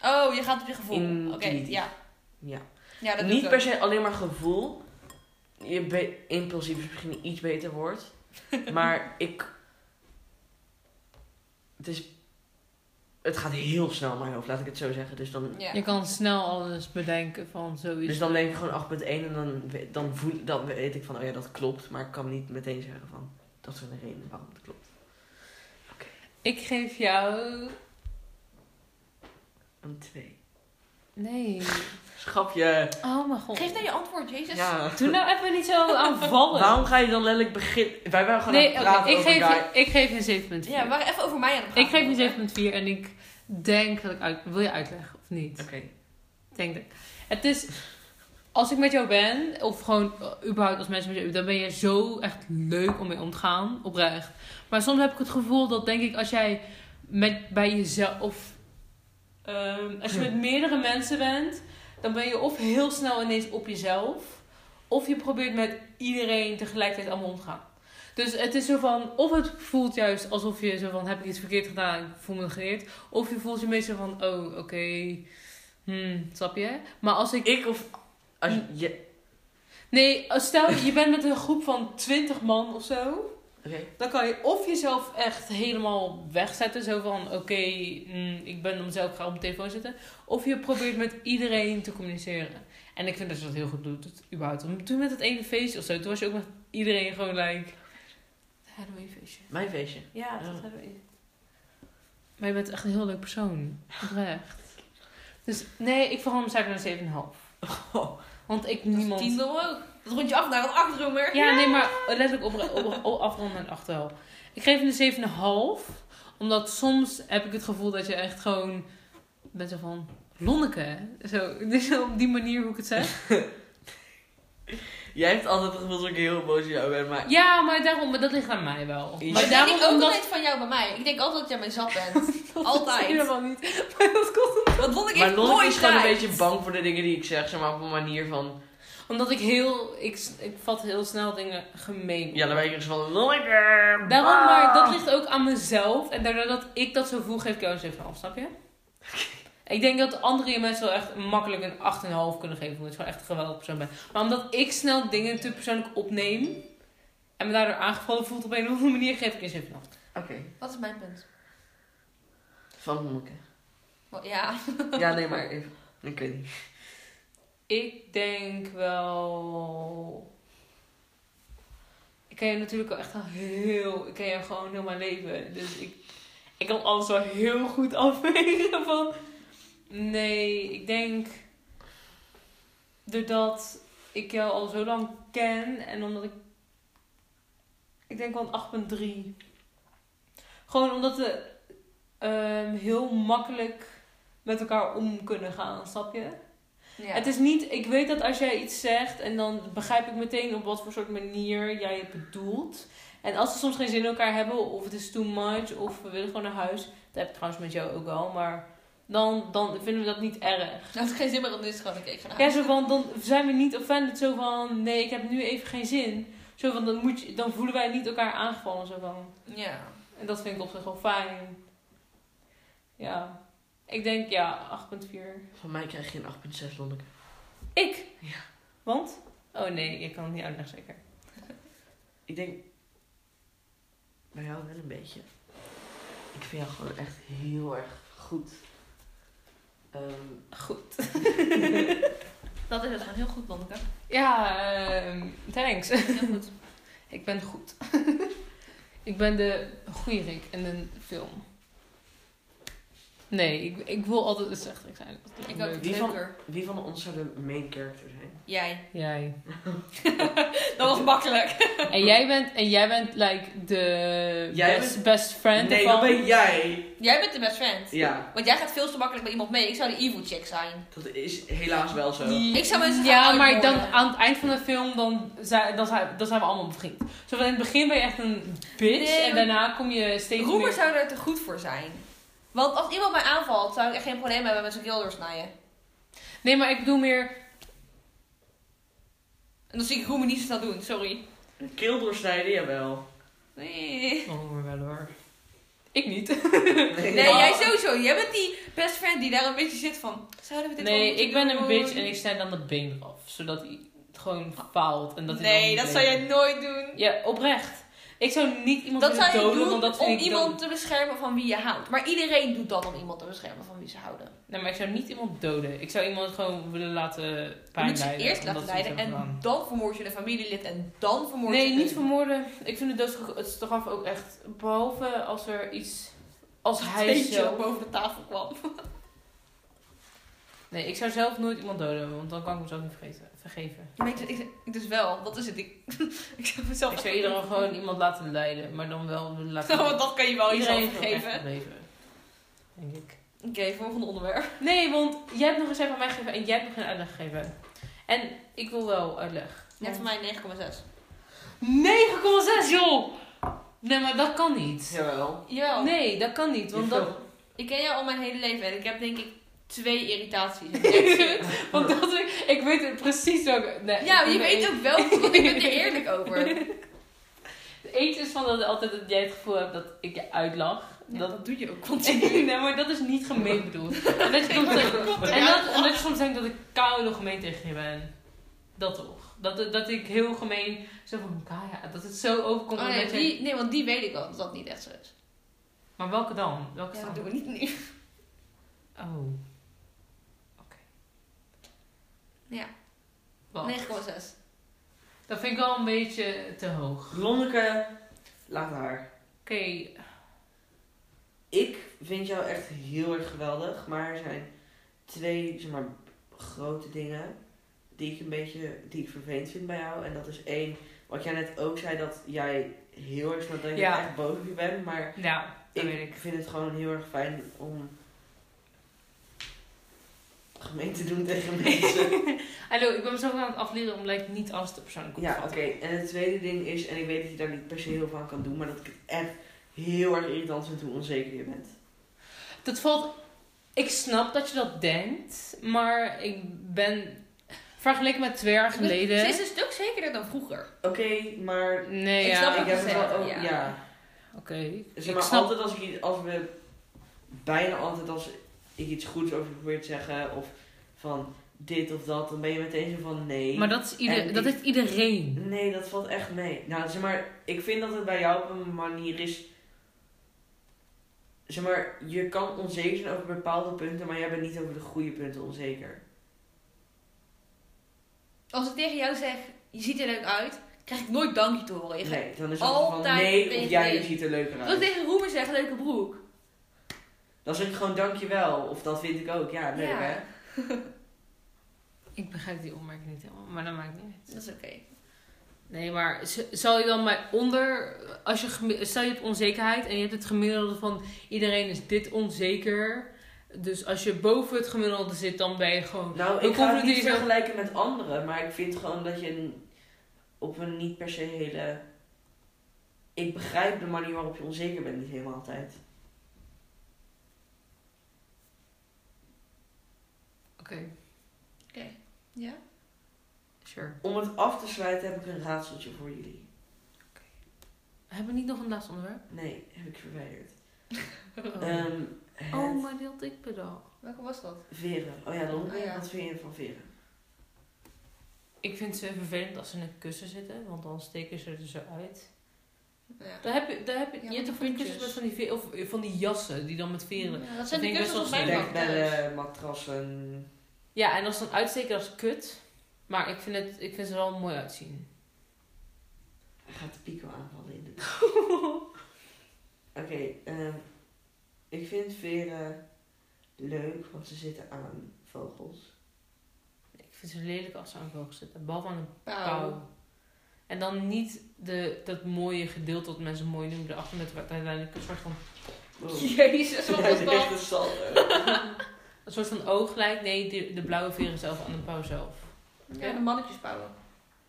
[SPEAKER 3] Oh, je gaat op je gevoel. Oké,
[SPEAKER 1] Intuïtief.
[SPEAKER 3] ja.
[SPEAKER 1] Ja.
[SPEAKER 3] Ja, dat doe ik
[SPEAKER 1] Niet
[SPEAKER 3] ook.
[SPEAKER 1] per se alleen maar gevoel. Je be- impulsief is misschien een iets beter woord. Maar ik... Het is... Het gaat heel snel in mijn hoofd, laat ik het zo zeggen. Dus dan,
[SPEAKER 3] Ja.
[SPEAKER 4] Je kan snel alles bedenken van zoiets.
[SPEAKER 1] dus dan denk ik gewoon 8.1 en dan, we- dan, voel, dan weet ik van, oh ja, dat klopt. Maar ik kan niet meteen zeggen van, dat is een reden waarom het klopt.
[SPEAKER 4] Ik geef jou...
[SPEAKER 1] Een 2.
[SPEAKER 4] Nee.
[SPEAKER 1] Schapje.
[SPEAKER 4] Oh mijn god.
[SPEAKER 3] Geef nou je antwoord, Jezus.
[SPEAKER 1] Ja.
[SPEAKER 4] Doe nou even niet zo aanvallen.
[SPEAKER 1] Waarom ga je dan letterlijk beginnen? Wij waren gewoon
[SPEAKER 4] Nee,
[SPEAKER 1] aan het
[SPEAKER 4] oké.
[SPEAKER 1] praten
[SPEAKER 4] ik,
[SPEAKER 1] over
[SPEAKER 4] geef
[SPEAKER 1] guy-
[SPEAKER 4] je- ik geef je een 7,4.
[SPEAKER 3] Ja, we waren even over mij aan het praten.
[SPEAKER 4] Ik geef je 7,4 en ik denk dat ik uit... Wil je uitleggen of niet?
[SPEAKER 1] Oké.
[SPEAKER 4] Ik denk dat... Het is... Als ik met jou ben, of gewoon eh, überhaupt als mensen met jou... Dan ben je zo echt leuk om mee om te gaan. Oprecht. Maar soms heb ik het gevoel dat denk ik als jij met, bij jezelf... Of ehm, als je met meerdere mensen bent... Dan ben je of heel snel ineens op jezelf... Of je probeert met iedereen tegelijkertijd allemaal om te gaan. Dus het is zo van, of het voelt juist alsof je zo van, heb ik iets verkeerd gedaan, ik voel me geëerd. Of je voelt je meestal van, oh, oké, hmm, snap je? Maar als ik,
[SPEAKER 1] Ik of... Als
[SPEAKER 4] Hm.
[SPEAKER 1] je, je-
[SPEAKER 4] nee, als stel je bent met een groep van 20 man of zo.
[SPEAKER 1] Oké.
[SPEAKER 4] Dan kan je of jezelf echt helemaal wegzetten, zo van, oké, hmm, ik ben mezelf, ik ga op mijn telefoon zitten. Of je probeert met iedereen te communiceren. En ik vind dat je dat heel goed doet, het, überhaupt. Want Toen met het ene feestje of zo, toen was je ook met iedereen gewoon like... Halloween feestje.
[SPEAKER 1] Mijn feestje.
[SPEAKER 5] Ja,
[SPEAKER 1] dat
[SPEAKER 5] hebben we.
[SPEAKER 4] Maar je bent echt een heel leuk persoon. Oprecht. Dus nee, ik verander mijn cijfer naar 7,5.
[SPEAKER 1] Oh,
[SPEAKER 4] Want ik niemand...
[SPEAKER 3] Tiende ook. Dat rond je af naar een achtroemer.
[SPEAKER 4] Ja, nee, maar letterlijk op, op, op afronden en achterhal. Ik geef hem een 7,5. Omdat soms heb ik het gevoel dat je echt gewoon... Bent zo van... Lonneke. hè? Zo, dus op die manier hoe ik het zeg.
[SPEAKER 1] Jij hebt altijd het gevoel dat ik heel boos op jou ben, maar...
[SPEAKER 4] Ja, maar daarom... Maar dat ligt aan mij wel.
[SPEAKER 1] Ja.
[SPEAKER 4] Maar
[SPEAKER 3] dat
[SPEAKER 4] daarom
[SPEAKER 3] denk ik ook
[SPEAKER 4] omdat...
[SPEAKER 3] altijd van jou bij mij. Ik denk altijd dat jij mijn zat bent. altijd.
[SPEAKER 4] Helemaal niet. Maar dat komt
[SPEAKER 3] Want Lonneke
[SPEAKER 1] Maar
[SPEAKER 3] heeft
[SPEAKER 1] Lonneke
[SPEAKER 3] nooit
[SPEAKER 1] is gewoon een
[SPEAKER 3] tijd.
[SPEAKER 1] beetje bang voor de dingen die ik zeg, zeg maar op een manier van...
[SPEAKER 4] Omdat ik heel... Ik, ik vat heel snel dingen gemeen op.
[SPEAKER 1] Ja, dan ben ik dus van, Lonneke!
[SPEAKER 4] Daarom, maar dat ligt ook aan mezelf. En daardoor dat ik dat zo voel, geef ik jou een 7,5, snap je? Ik denk dat andere mensen wel echt makkelijk een 8,5 kunnen geven. Omdat je gewoon echt een geweldig persoon bent. Maar omdat ik snel dingen te persoonlijk opneem. En me daardoor aangevallen voelt op een of andere manier, geef ik een 7,5.
[SPEAKER 1] Oké,
[SPEAKER 3] Wat is mijn punt?
[SPEAKER 1] van Lonneke.
[SPEAKER 3] Wel, Ja.
[SPEAKER 1] Ja, nee, maar even... Ik weet niet.
[SPEAKER 4] Ik denk wel... Ik ken je natuurlijk al echt al heel... Ik ken je gewoon heel mijn leven. Dus ik, ik kan alles wel heel goed afwegen van... Nee, ik denk... Doordat ik jou al zo lang ken en omdat ik... Ik denk wel een 8.3. Gewoon omdat we ehm, heel makkelijk met elkaar om kunnen gaan, snap je?
[SPEAKER 3] ja.
[SPEAKER 4] Het is niet, ik weet dat als jij iets zegt en dan begrijp ik meteen op wat voor soort manier jij het bedoelt. En als ze soms geen zin in elkaar hebben, of het is too much, of we willen gewoon naar huis. Dat heb ik trouwens met jou ook wel, maar dan, dan vinden we dat niet erg.
[SPEAKER 3] Dat is geen zin meer om dit te gaan. Oké, ik ga naar
[SPEAKER 4] Ja,
[SPEAKER 3] huis.
[SPEAKER 4] zo van, dan zijn we niet offended, zo van, nee, ik heb nu even geen zin. Zo van, dan, moet je, dan voelen wij niet elkaar aangevallen, zo van.
[SPEAKER 3] Ja.
[SPEAKER 4] En dat vind ik op zich wel fijn. Ja, ik denk, ja, 8.4.
[SPEAKER 1] Van mij krijg je een 8.6 Lonneke.
[SPEAKER 4] Ik?
[SPEAKER 1] Ja.
[SPEAKER 4] Want? Oh nee, ik kan het niet uitleggen zeker.
[SPEAKER 1] Ik denk bij jou wel een beetje. Ik vind jou gewoon echt heel erg goed. Ehm,
[SPEAKER 4] Goed.
[SPEAKER 3] Dat is het gewoon heel goed, Lonneke.
[SPEAKER 4] Ja, ehm, thanks.
[SPEAKER 3] Heel goed.
[SPEAKER 4] Ik ben goed. ik ben de goede Rick in een film. Nee, ik, ik wil altijd de slechterik zijn. Dat is
[SPEAKER 3] Ik
[SPEAKER 4] leuk.
[SPEAKER 3] ook.
[SPEAKER 1] Wie van-
[SPEAKER 3] Leuker.
[SPEAKER 1] wie van ons zou de main character zijn?
[SPEAKER 3] Jij.
[SPEAKER 4] Jij.
[SPEAKER 3] Dat was makkelijk.
[SPEAKER 4] En jij bent, en jij bent like de
[SPEAKER 1] Jij
[SPEAKER 4] best,
[SPEAKER 1] bent-
[SPEAKER 4] best friend
[SPEAKER 1] nee,
[SPEAKER 4] van...
[SPEAKER 1] dat ben jij.
[SPEAKER 3] Jij bent de best friend.
[SPEAKER 1] Ja,
[SPEAKER 3] Want jij gaat veel te makkelijk met iemand mee. Ik zou de evil chick zijn.
[SPEAKER 1] dat is helaas wel zo.
[SPEAKER 3] Ik zou mensen gaan
[SPEAKER 4] Ja, maar dan,
[SPEAKER 3] uitmoorden.
[SPEAKER 4] aan het eind van de film dan zijn, dan zijn, dan zijn we allemaal bevriend. Zo van in het begin ben je echt een bitch
[SPEAKER 3] Nee,
[SPEAKER 4] en
[SPEAKER 3] maar-
[SPEAKER 4] daarna kom je steeds
[SPEAKER 3] Roemer
[SPEAKER 4] meer...
[SPEAKER 3] zou er te goed voor zijn. Want als iemand mij aanvalt, zou ik echt geen probleem hebben met zo'n keel doorsnijden.
[SPEAKER 4] Nee, maar ik bedoel meer...
[SPEAKER 3] En dan zie ik Roemer niet zo snel doen, sorry.
[SPEAKER 1] Een Keel doorsnijden, jawel.
[SPEAKER 3] Nee,
[SPEAKER 4] Oh, wel hoor. Ik niet.
[SPEAKER 1] Nee,
[SPEAKER 3] nee jij sowieso. Jij bent die best friend die daar een beetje zit van. Zouden we dit wel
[SPEAKER 4] Nee,
[SPEAKER 3] moeten
[SPEAKER 4] ik ben een
[SPEAKER 3] doen?
[SPEAKER 4] bitch en ik snijd dan de been af. Zodat hij het gewoon faalt. En dat hij
[SPEAKER 3] Nee,
[SPEAKER 4] dan
[SPEAKER 3] dat
[SPEAKER 4] bleef.
[SPEAKER 3] zou jij nooit doen.
[SPEAKER 4] Ja, oprecht. Ik zou niet iemand
[SPEAKER 3] Dat
[SPEAKER 4] willen
[SPEAKER 3] zou je
[SPEAKER 4] doden,
[SPEAKER 3] doen
[SPEAKER 4] want dat
[SPEAKER 3] om
[SPEAKER 4] vind ik
[SPEAKER 3] iemand
[SPEAKER 4] dood.
[SPEAKER 3] te beschermen van wie je houdt. Maar iedereen doet dat om iemand te beschermen van wie ze houden.
[SPEAKER 4] Nee, maar ik zou niet iemand doden. Ik zou iemand gewoon willen laten
[SPEAKER 3] Je
[SPEAKER 4] pijn
[SPEAKER 3] moet ze
[SPEAKER 4] lijden,
[SPEAKER 3] eerst laten
[SPEAKER 4] omdat ze iets
[SPEAKER 3] leiden en
[SPEAKER 4] hebben gedaan.
[SPEAKER 3] dan vermoord je een familielid en dan vermoord je
[SPEAKER 4] Nee,
[SPEAKER 3] een-
[SPEAKER 4] niet vermoorden. Ik vind de doodstraf ook echt... Behalve als er iets... Als
[SPEAKER 3] Als
[SPEAKER 4] hij
[SPEAKER 3] Rachel
[SPEAKER 4] zelf...
[SPEAKER 3] boven de tafel kwam.
[SPEAKER 4] Nee, ik zou zelf nooit iemand doden, want dan kan ik mezelf niet vergeten, vergeven.
[SPEAKER 3] Maar ik, ik, ik dus wel, dat is het. Ik, ik zou mezelf... Nou,
[SPEAKER 4] Ik zou iedereen gewoon iemand laten lijden, maar dan wel willen laten...
[SPEAKER 3] Want dat kan je wel
[SPEAKER 4] iedereen
[SPEAKER 3] jezelf
[SPEAKER 4] geven.
[SPEAKER 3] geven.
[SPEAKER 4] Denk ik.
[SPEAKER 3] Oké, volgende onderwerp.
[SPEAKER 4] Nee, want jij hebt nog eens even aan mij gegeven en jij hebt nog geen uitleg gegeven. En ik wil wel uitleg.
[SPEAKER 3] Net voor mij 9,6.
[SPEAKER 4] 9,6 joh! Nee, maar dat kan niet.
[SPEAKER 1] Jawel.
[SPEAKER 3] Jawel.
[SPEAKER 4] Nee, dat kan niet. Want dat,
[SPEAKER 3] Ik ken jou al mijn hele leven en ik heb denk ik twee irritaties. in de
[SPEAKER 4] want dat ik, ik weet het precies welke. Nee,
[SPEAKER 3] ja, maar je
[SPEAKER 4] de
[SPEAKER 3] weet
[SPEAKER 4] een-
[SPEAKER 3] ook wel, want ik ben er eerlijk over.
[SPEAKER 4] Eentje is van dat altijd dat jij het gevoel hebt dat ik je uitlach. dat,
[SPEAKER 3] doe je ook
[SPEAKER 4] nee, maar dat is niet gemeen bedoeld. En dat je soms, en dat, en dat je soms denkt dat ik koude gemeen tegen je ben. Dat toch? Dat, dat ik heel gemeen zo van Kaya, dat het zo overkomt.
[SPEAKER 3] Oh, nee,
[SPEAKER 4] omdat jij-
[SPEAKER 3] die, nee, want die weet ik wel dat dat niet echt zo is.
[SPEAKER 4] Maar welke dan? Welke
[SPEAKER 3] Ja,
[SPEAKER 4] staan?
[SPEAKER 3] dat doen we niet nu.
[SPEAKER 4] Oh. Oké.
[SPEAKER 3] Ja.
[SPEAKER 4] Wat?
[SPEAKER 3] 9,6.
[SPEAKER 4] Dat vind ik wel een beetje te hoog. Oké.
[SPEAKER 1] Lonneke, laat haar. Ik vind jou echt heel erg geweldig, maar er zijn twee zeg maar, grote dingen die ik een beetje die ik vervelend vind bij jou. En dat is één, wat jij net ook zei, dat jij heel erg snel dat je
[SPEAKER 4] Ja.
[SPEAKER 1] echt boos op je bent, maar
[SPEAKER 4] Ja, nou, dat weet
[SPEAKER 1] ik
[SPEAKER 4] ik.
[SPEAKER 1] vind het gewoon heel erg fijn om gemeen te doen tegen mensen.
[SPEAKER 4] Hallo, ik ben mezelf aan het afleren om lijkt niet als de persoonlijk op te
[SPEAKER 1] Ja, oké.
[SPEAKER 4] vatten.
[SPEAKER 1] En het tweede ding is, en ik weet dat je daar niet per se heel veel aan kan doen, maar dat ik het echt heel erg irritant vind hoe onzeker je bent.
[SPEAKER 4] Dat valt... Ik snap dat je dat denkt, maar ik ben... Vergeleken met twee jaar geleden...
[SPEAKER 3] Ze is een stuk zekerder dan vroeger.
[SPEAKER 1] Oké, maar
[SPEAKER 4] Nee,
[SPEAKER 3] Ik
[SPEAKER 4] ja.
[SPEAKER 3] snap
[SPEAKER 1] ik
[SPEAKER 3] wat je
[SPEAKER 1] heb het wel
[SPEAKER 3] zegt,
[SPEAKER 1] ook.
[SPEAKER 3] ja.
[SPEAKER 1] Ja.
[SPEAKER 4] Oké.
[SPEAKER 1] Zeg
[SPEAKER 4] ik
[SPEAKER 1] maar
[SPEAKER 4] snap...
[SPEAKER 1] altijd als ik iets- als we bijna altijd als ik iets goeds over je probeer te zeggen of van dit of dat, dan ben je meteen zo van nee.
[SPEAKER 4] Maar dat, is ieder...
[SPEAKER 1] En die- Mm.
[SPEAKER 4] dat heeft iedereen.
[SPEAKER 1] Nee, dat valt echt mee. Nou, zeg maar, ik vind dat het bij jou op een manier is. Zeg maar, je kan onzeker zijn over bepaalde punten, maar jij bent niet over de goede punten onzeker.
[SPEAKER 3] Als ik tegen jou zeg, je ziet er leuk uit, krijg ik nooit dankje te horen. Je gaat-
[SPEAKER 1] Nee, dan is het
[SPEAKER 3] altijd
[SPEAKER 1] van nee
[SPEAKER 3] tegen
[SPEAKER 1] of jij
[SPEAKER 3] nee.
[SPEAKER 1] je ziet er leuker
[SPEAKER 3] Als ik
[SPEAKER 1] uit.
[SPEAKER 3] tegen Roemer zeg, leuke broek.
[SPEAKER 1] Dan zeg ik gewoon dankjewel of dat vind ik ook. Ja, leuk
[SPEAKER 3] Ja.
[SPEAKER 1] hè.
[SPEAKER 4] Ik begrijp die opmerking niet helemaal, maar dat maakt niet uit.
[SPEAKER 3] Dat is oké.
[SPEAKER 4] Nee, maar z- zal je dan maar onder, als je, gemi- stel je hebt onzekerheid en je hebt het gemiddelde van iedereen is dit onzeker. Dus als je boven het gemiddelde zit, dan ben je gewoon.
[SPEAKER 1] Nou, ik
[SPEAKER 4] Hoe
[SPEAKER 1] ga het
[SPEAKER 4] confronteer
[SPEAKER 1] niet
[SPEAKER 4] je zo-
[SPEAKER 1] vergelijken met anderen, maar ik vind gewoon dat je een- op een niet per se hele ik begrijp de manier waarop je onzeker bent niet helemaal altijd.
[SPEAKER 2] Oké,
[SPEAKER 3] Ja?
[SPEAKER 2] sure.
[SPEAKER 1] Om het af te sluiten heb ik een raadseltje voor jullie.
[SPEAKER 2] Hebben we niet nog een laatste onderwerp?
[SPEAKER 1] Nee, heb ik verwijderd.
[SPEAKER 2] Oh,
[SPEAKER 1] Ehm
[SPEAKER 4] Oh,
[SPEAKER 1] het
[SPEAKER 4] maar die had ik bedacht.
[SPEAKER 3] Welke was dat?
[SPEAKER 1] veren. Oh ja, dan
[SPEAKER 3] Oh ja.
[SPEAKER 1] wat vind je van veren?
[SPEAKER 4] Ik vind ze vervelend als ze in een kussen zitten, want dan steken ze er zo uit.
[SPEAKER 3] Ja.
[SPEAKER 4] Daar heb je, daar heb je,
[SPEAKER 3] Ja,
[SPEAKER 4] je
[SPEAKER 3] van die Mm.
[SPEAKER 4] hebt toch van die
[SPEAKER 3] puntjes.
[SPEAKER 4] kussens met van die, ve- of eh, van die jassen die dan met veren.
[SPEAKER 3] Ja, dat zijn de
[SPEAKER 4] vind ik best
[SPEAKER 3] kussens
[SPEAKER 4] wel
[SPEAKER 1] Dus
[SPEAKER 3] op mijn
[SPEAKER 4] zonde.
[SPEAKER 3] bank thuis.
[SPEAKER 1] Dekbedden, matrassen.
[SPEAKER 4] Ja, en als ze dan uitsteken, dat is kut. Maar ik vind, het, ik vind ze er wel mooi uitzien.
[SPEAKER 1] Hij gaat de pico aanvallen in de Oké, ehm, ik vind veren leuk, want ze zitten aan vogels.
[SPEAKER 4] Ik vind ze lelijk als ze aan vogels zitten, behalve aan een
[SPEAKER 3] Pauw.
[SPEAKER 4] pauw. En dan niet de, dat mooie gedeelte wat mensen mooi noemen, erachter met wat uiteindelijk een soort van,
[SPEAKER 1] Wow.
[SPEAKER 3] Jezus, wat
[SPEAKER 1] Hij
[SPEAKER 3] was
[SPEAKER 1] is echt
[SPEAKER 3] dat?
[SPEAKER 1] een salto.
[SPEAKER 4] een soort van oog lijkt. Nee, de, de blauwe veren zelf aan de pauw zelf.
[SPEAKER 3] Ja, de mannetjespauwen.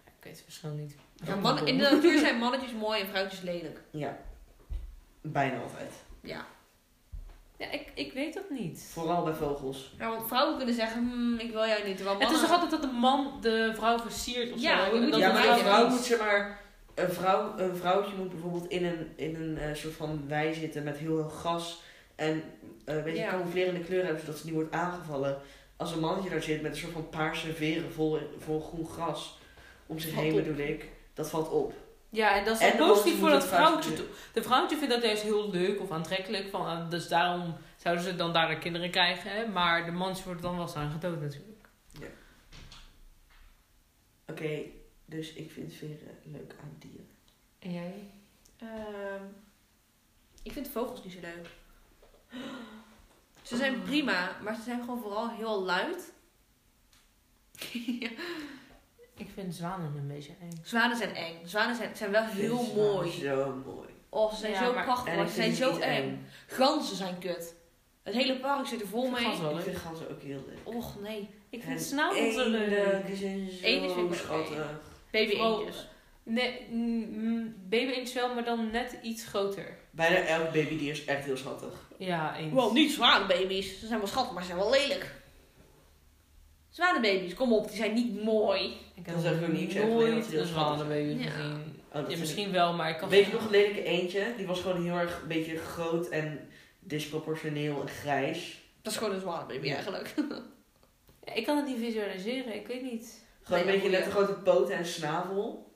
[SPEAKER 4] Ja, Ik weet het verschil niet.
[SPEAKER 3] Ja, mannen, in de natuur zijn mannetjes mooi en vrouwtjes lelijk.
[SPEAKER 1] Ja, bijna altijd.
[SPEAKER 3] Ja.
[SPEAKER 4] Ja, ik, ik weet dat niet.
[SPEAKER 1] Vooral bij vogels.
[SPEAKER 3] ja, want vrouwen kunnen zeggen, hmm, ik wil jou niet. Terwijl
[SPEAKER 4] Het is
[SPEAKER 3] mannen...
[SPEAKER 4] toch altijd dat de man de vrouw versiert of
[SPEAKER 3] Ja,
[SPEAKER 4] zo?
[SPEAKER 3] je
[SPEAKER 4] en
[SPEAKER 3] moet
[SPEAKER 4] dat
[SPEAKER 1] ja,
[SPEAKER 4] de
[SPEAKER 1] maar een
[SPEAKER 3] verwijzen.
[SPEAKER 1] vrouw
[SPEAKER 4] niet.
[SPEAKER 1] moet zeg maar... Een, vrouw, een vrouwtje moet bijvoorbeeld in een, in een eh, soort van wei zitten met heel veel gas. En eh een beetje
[SPEAKER 3] Ja.
[SPEAKER 1] camouflerende kleuren hebben, zodat ze niet wordt aangevallen. Als een mannetje daar zit met een soort van paarse veren vol, vol groen gras om zich
[SPEAKER 4] Valt
[SPEAKER 1] heen
[SPEAKER 4] op.
[SPEAKER 1] bedoel ik. Dat valt op.
[SPEAKER 4] Ja, en dat is
[SPEAKER 1] En
[SPEAKER 4] dan
[SPEAKER 1] de
[SPEAKER 4] positief
[SPEAKER 1] man
[SPEAKER 4] voor
[SPEAKER 1] moet
[SPEAKER 4] dat
[SPEAKER 1] het vrouwtje
[SPEAKER 4] vrouwtje toe. De vrouwtje vindt dat juist heel leuk of aantrekkelijk. Van, eh, dus daarom zouden ze dan daar de kinderen krijgen. hè. Maar de man wordt dan wel eens aan gedood natuurlijk.
[SPEAKER 1] Oké, dus ik vind veren leuk aan dieren.
[SPEAKER 4] En jij?
[SPEAKER 3] Ehm, ik vind vogels niet zo leuk. Ze zijn prima, maar ze zijn gewoon vooral heel luid. Ja.
[SPEAKER 4] Ik vind zwanen een beetje eng.
[SPEAKER 3] Zwanen zijn eng. Zwanen zijn, zijn wel
[SPEAKER 1] Ik
[SPEAKER 3] heel
[SPEAKER 1] vind zwanen
[SPEAKER 3] mooi.
[SPEAKER 1] Zo mooi.
[SPEAKER 3] Oh, ze zijn
[SPEAKER 4] Ja,
[SPEAKER 3] zo
[SPEAKER 4] maar-
[SPEAKER 3] prachtig, maar
[SPEAKER 1] ik
[SPEAKER 3] ze
[SPEAKER 1] vind
[SPEAKER 3] zijn zo
[SPEAKER 1] niet
[SPEAKER 3] eng. Ganzen zijn kut. Het hele park zit er vol
[SPEAKER 4] Ik vind
[SPEAKER 3] mee.
[SPEAKER 4] ganzen wel
[SPEAKER 1] Ik
[SPEAKER 4] leuk.
[SPEAKER 1] vind ganzen ook heel leuk.
[SPEAKER 3] Och nee.
[SPEAKER 4] Ik vind
[SPEAKER 1] En
[SPEAKER 4] snavels zo leuk.
[SPEAKER 1] eenden, Die zijn zo
[SPEAKER 3] Eenden vind ik ook wel
[SPEAKER 1] schattig.
[SPEAKER 3] Baby
[SPEAKER 4] Oh.
[SPEAKER 3] eendjes.
[SPEAKER 4] Nee, mm, mm, baby eens wel, maar dan net iets groter.
[SPEAKER 1] Bijna elk babydier is echt heel schattig.
[SPEAKER 4] Ja, eens.
[SPEAKER 3] Wel niet zwanenbaby's. Ze zijn wel schattig, maar ze zijn wel lelijk. Zwanenbaby's, kom op, die zijn niet mooi.
[SPEAKER 4] Ik
[SPEAKER 1] Dat is ook uniek, zeg. Nederland
[SPEAKER 4] nooit
[SPEAKER 1] is heel
[SPEAKER 4] een zwanenbaby
[SPEAKER 3] schattig.
[SPEAKER 4] gezien.
[SPEAKER 1] Oh, dat
[SPEAKER 4] Ja,
[SPEAKER 1] vind ik-
[SPEAKER 4] misschien wel, maar ik kan...
[SPEAKER 1] Weet je nog een lelijke eentje? Die was gewoon heel erg een beetje groot en disproportioneel en grijs.
[SPEAKER 3] Dat is gewoon een zwanenbaby
[SPEAKER 1] Ja.
[SPEAKER 3] eigenlijk.
[SPEAKER 4] Ja, ik kan het niet visualiseren, ik weet niet.
[SPEAKER 1] Gewoon
[SPEAKER 3] Nee,
[SPEAKER 1] een beetje
[SPEAKER 3] dat
[SPEAKER 1] net een grote poten en snavel.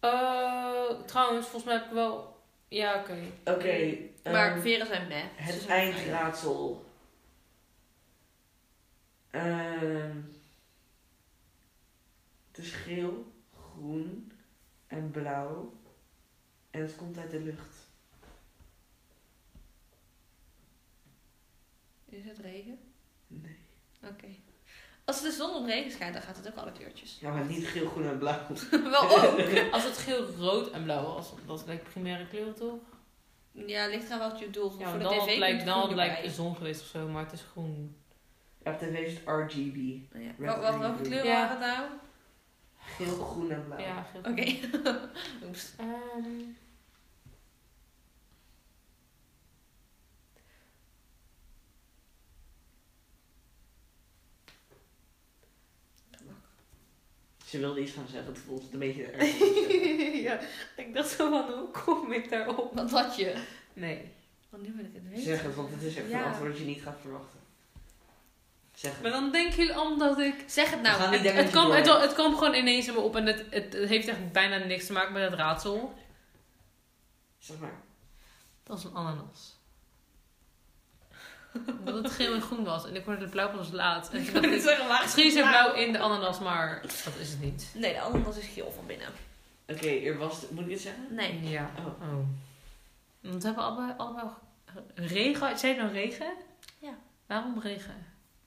[SPEAKER 4] Eh, trouwens, volgens mij heb ik wel... Ja, oké.
[SPEAKER 1] Oké, ehm,
[SPEAKER 3] Maar veren zijn dus meh. Ze
[SPEAKER 1] het
[SPEAKER 3] zijn
[SPEAKER 1] eindraadsel. Ehm, het is geel, groen en blauw. En het komt uit de lucht.
[SPEAKER 3] Is het regen?
[SPEAKER 1] Nee.
[SPEAKER 3] Oké. Als de zon op regen schijnt, dan gaat het ook alle kleurtjes.
[SPEAKER 1] Ja, maar niet geel, groen en blauw.
[SPEAKER 3] Wel ook.
[SPEAKER 4] Als het geel, rood en blauw was, dat lijkt primaire kleuren toch?
[SPEAKER 3] Ja, ligt eraan wat je doel.
[SPEAKER 4] Ja,
[SPEAKER 3] voor
[SPEAKER 4] maar
[SPEAKER 3] de
[SPEAKER 4] dan had
[SPEAKER 3] tv
[SPEAKER 4] het lijkt,
[SPEAKER 3] komt
[SPEAKER 4] dan had het
[SPEAKER 3] groen
[SPEAKER 4] lijkt
[SPEAKER 3] erbij.
[SPEAKER 4] de zon geweest of zo, maar het is groen.
[SPEAKER 1] Ja, op tv is het RGB.
[SPEAKER 3] Ja.
[SPEAKER 1] Red,
[SPEAKER 3] Wel- wel-
[SPEAKER 1] green,
[SPEAKER 3] welke
[SPEAKER 1] blue.
[SPEAKER 3] kleur
[SPEAKER 4] Ja.
[SPEAKER 3] waren het nou?
[SPEAKER 1] Geel, groen en blauw.
[SPEAKER 4] Ja, geel.
[SPEAKER 3] Oké. Oeps.
[SPEAKER 4] Ehm.
[SPEAKER 1] Ze wilde iets gaan zeggen, het voelt een beetje erg.
[SPEAKER 4] ja, ik dacht zo van, hoe kom ik daarop?
[SPEAKER 3] Wat had je?
[SPEAKER 4] Nee.
[SPEAKER 3] Want Oh, nu wil ik het weten.
[SPEAKER 1] zeg het, want het is echt
[SPEAKER 3] Ja.
[SPEAKER 1] een antwoord dat je niet gaat verwachten. Zeg het.
[SPEAKER 4] Maar dan denken jullie allemaal dat ik...
[SPEAKER 3] Zeg het
[SPEAKER 1] We gaan
[SPEAKER 3] nou.
[SPEAKER 1] niet denken
[SPEAKER 4] Het
[SPEAKER 1] dat je
[SPEAKER 4] kwam,
[SPEAKER 1] door
[SPEAKER 4] het,
[SPEAKER 1] hebt.
[SPEAKER 4] het kwam gewoon ineens in me op en het, het, het heeft echt bijna niks te maken met het raadsel.
[SPEAKER 1] Zeg maar.
[SPEAKER 4] Dat is een ananas. Omdat het geel en groen was en ik hoorde het blauw pas laat. En toen dacht ik,
[SPEAKER 3] zeggen, waar nou?
[SPEAKER 4] misschien is het blauw in de ananas, maar dat is het niet.
[SPEAKER 3] Nee, de ananas is geel van binnen.
[SPEAKER 1] Oké, er was... Moet ik het zeggen?
[SPEAKER 3] Nee.
[SPEAKER 4] Ja.
[SPEAKER 1] Oh.
[SPEAKER 4] Oh. Want we hebben allebei, allebei regen. Zijn nou regen?
[SPEAKER 3] Ja.
[SPEAKER 4] Waarom regen?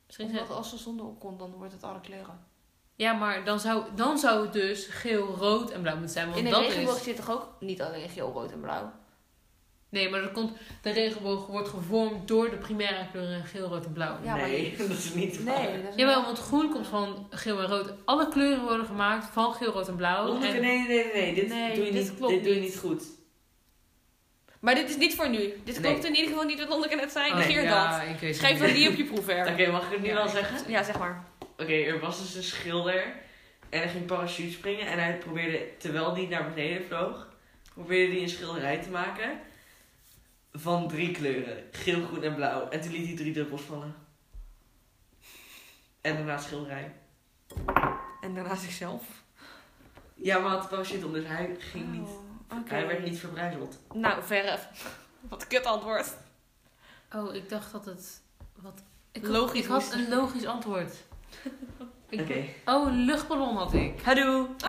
[SPEAKER 4] Misschien zijn-
[SPEAKER 3] als de zon opkomt, dan wordt het alle kleuren.
[SPEAKER 4] Ja, maar dan zou, dan zou het dus geel, rood en blauw moeten zijn. Want
[SPEAKER 3] In de
[SPEAKER 4] dat
[SPEAKER 3] regenboog
[SPEAKER 4] is...
[SPEAKER 3] zit toch ook niet alleen geel, rood en blauw?
[SPEAKER 4] Nee, maar dat komt, de regenboog wordt gevormd door de primaire kleuren geel, rood en blauw.
[SPEAKER 3] Ja, maar-
[SPEAKER 1] nee, dat is niet waar.
[SPEAKER 3] Nee.
[SPEAKER 1] Nee.
[SPEAKER 3] dat is
[SPEAKER 4] Jawel, want groen komt van geel en rood. Alle kleuren worden gemaakt van geel, rood en blauw.
[SPEAKER 1] Nee,
[SPEAKER 4] Nou, En
[SPEAKER 1] nee, nee, nee. Dit,
[SPEAKER 4] Nee,
[SPEAKER 1] doe je
[SPEAKER 4] dit
[SPEAKER 1] niet,
[SPEAKER 4] klopt
[SPEAKER 1] dit doe je
[SPEAKER 4] niet.
[SPEAKER 1] niet goed.
[SPEAKER 3] Maar dit is niet voor nu. Dit
[SPEAKER 1] Nee.
[SPEAKER 3] klopt in ieder geval niet wat Lonneke net zei.
[SPEAKER 1] Oh, nee,
[SPEAKER 3] Negeer
[SPEAKER 4] ja,
[SPEAKER 3] dat.
[SPEAKER 4] ik weet
[SPEAKER 3] Schrijf dat
[SPEAKER 4] het
[SPEAKER 3] niet op je proefwerk.
[SPEAKER 1] Oké, mag ik het nu
[SPEAKER 4] Ja.
[SPEAKER 1] wel zeggen?
[SPEAKER 3] Ja, zeg maar.
[SPEAKER 1] Oké, er was dus een schilder en hij ging parachute springen en hij probeerde, terwijl hij naar beneden vloog, probeerde hij een schilderij te maken van drie kleuren, geel, groen en blauw. En toen liet hij drie druppels vallen. En daarna het schilderij.
[SPEAKER 3] En daarna zichzelf.
[SPEAKER 1] Ja, maar hij had een parachute om, dus hij ging niet,
[SPEAKER 3] Oh, oké.
[SPEAKER 1] hij werd niet verbrijzeld.
[SPEAKER 3] Nou, verf. Wat een kut antwoord.
[SPEAKER 4] Oh, ik dacht dat het... Wat... Ik
[SPEAKER 3] Logisch
[SPEAKER 4] logisch had, ik
[SPEAKER 3] moest
[SPEAKER 4] had een logisch antwoord. Ik-
[SPEAKER 1] Oké.
[SPEAKER 4] Oh, een luchtballon had ik.
[SPEAKER 3] Hadoe.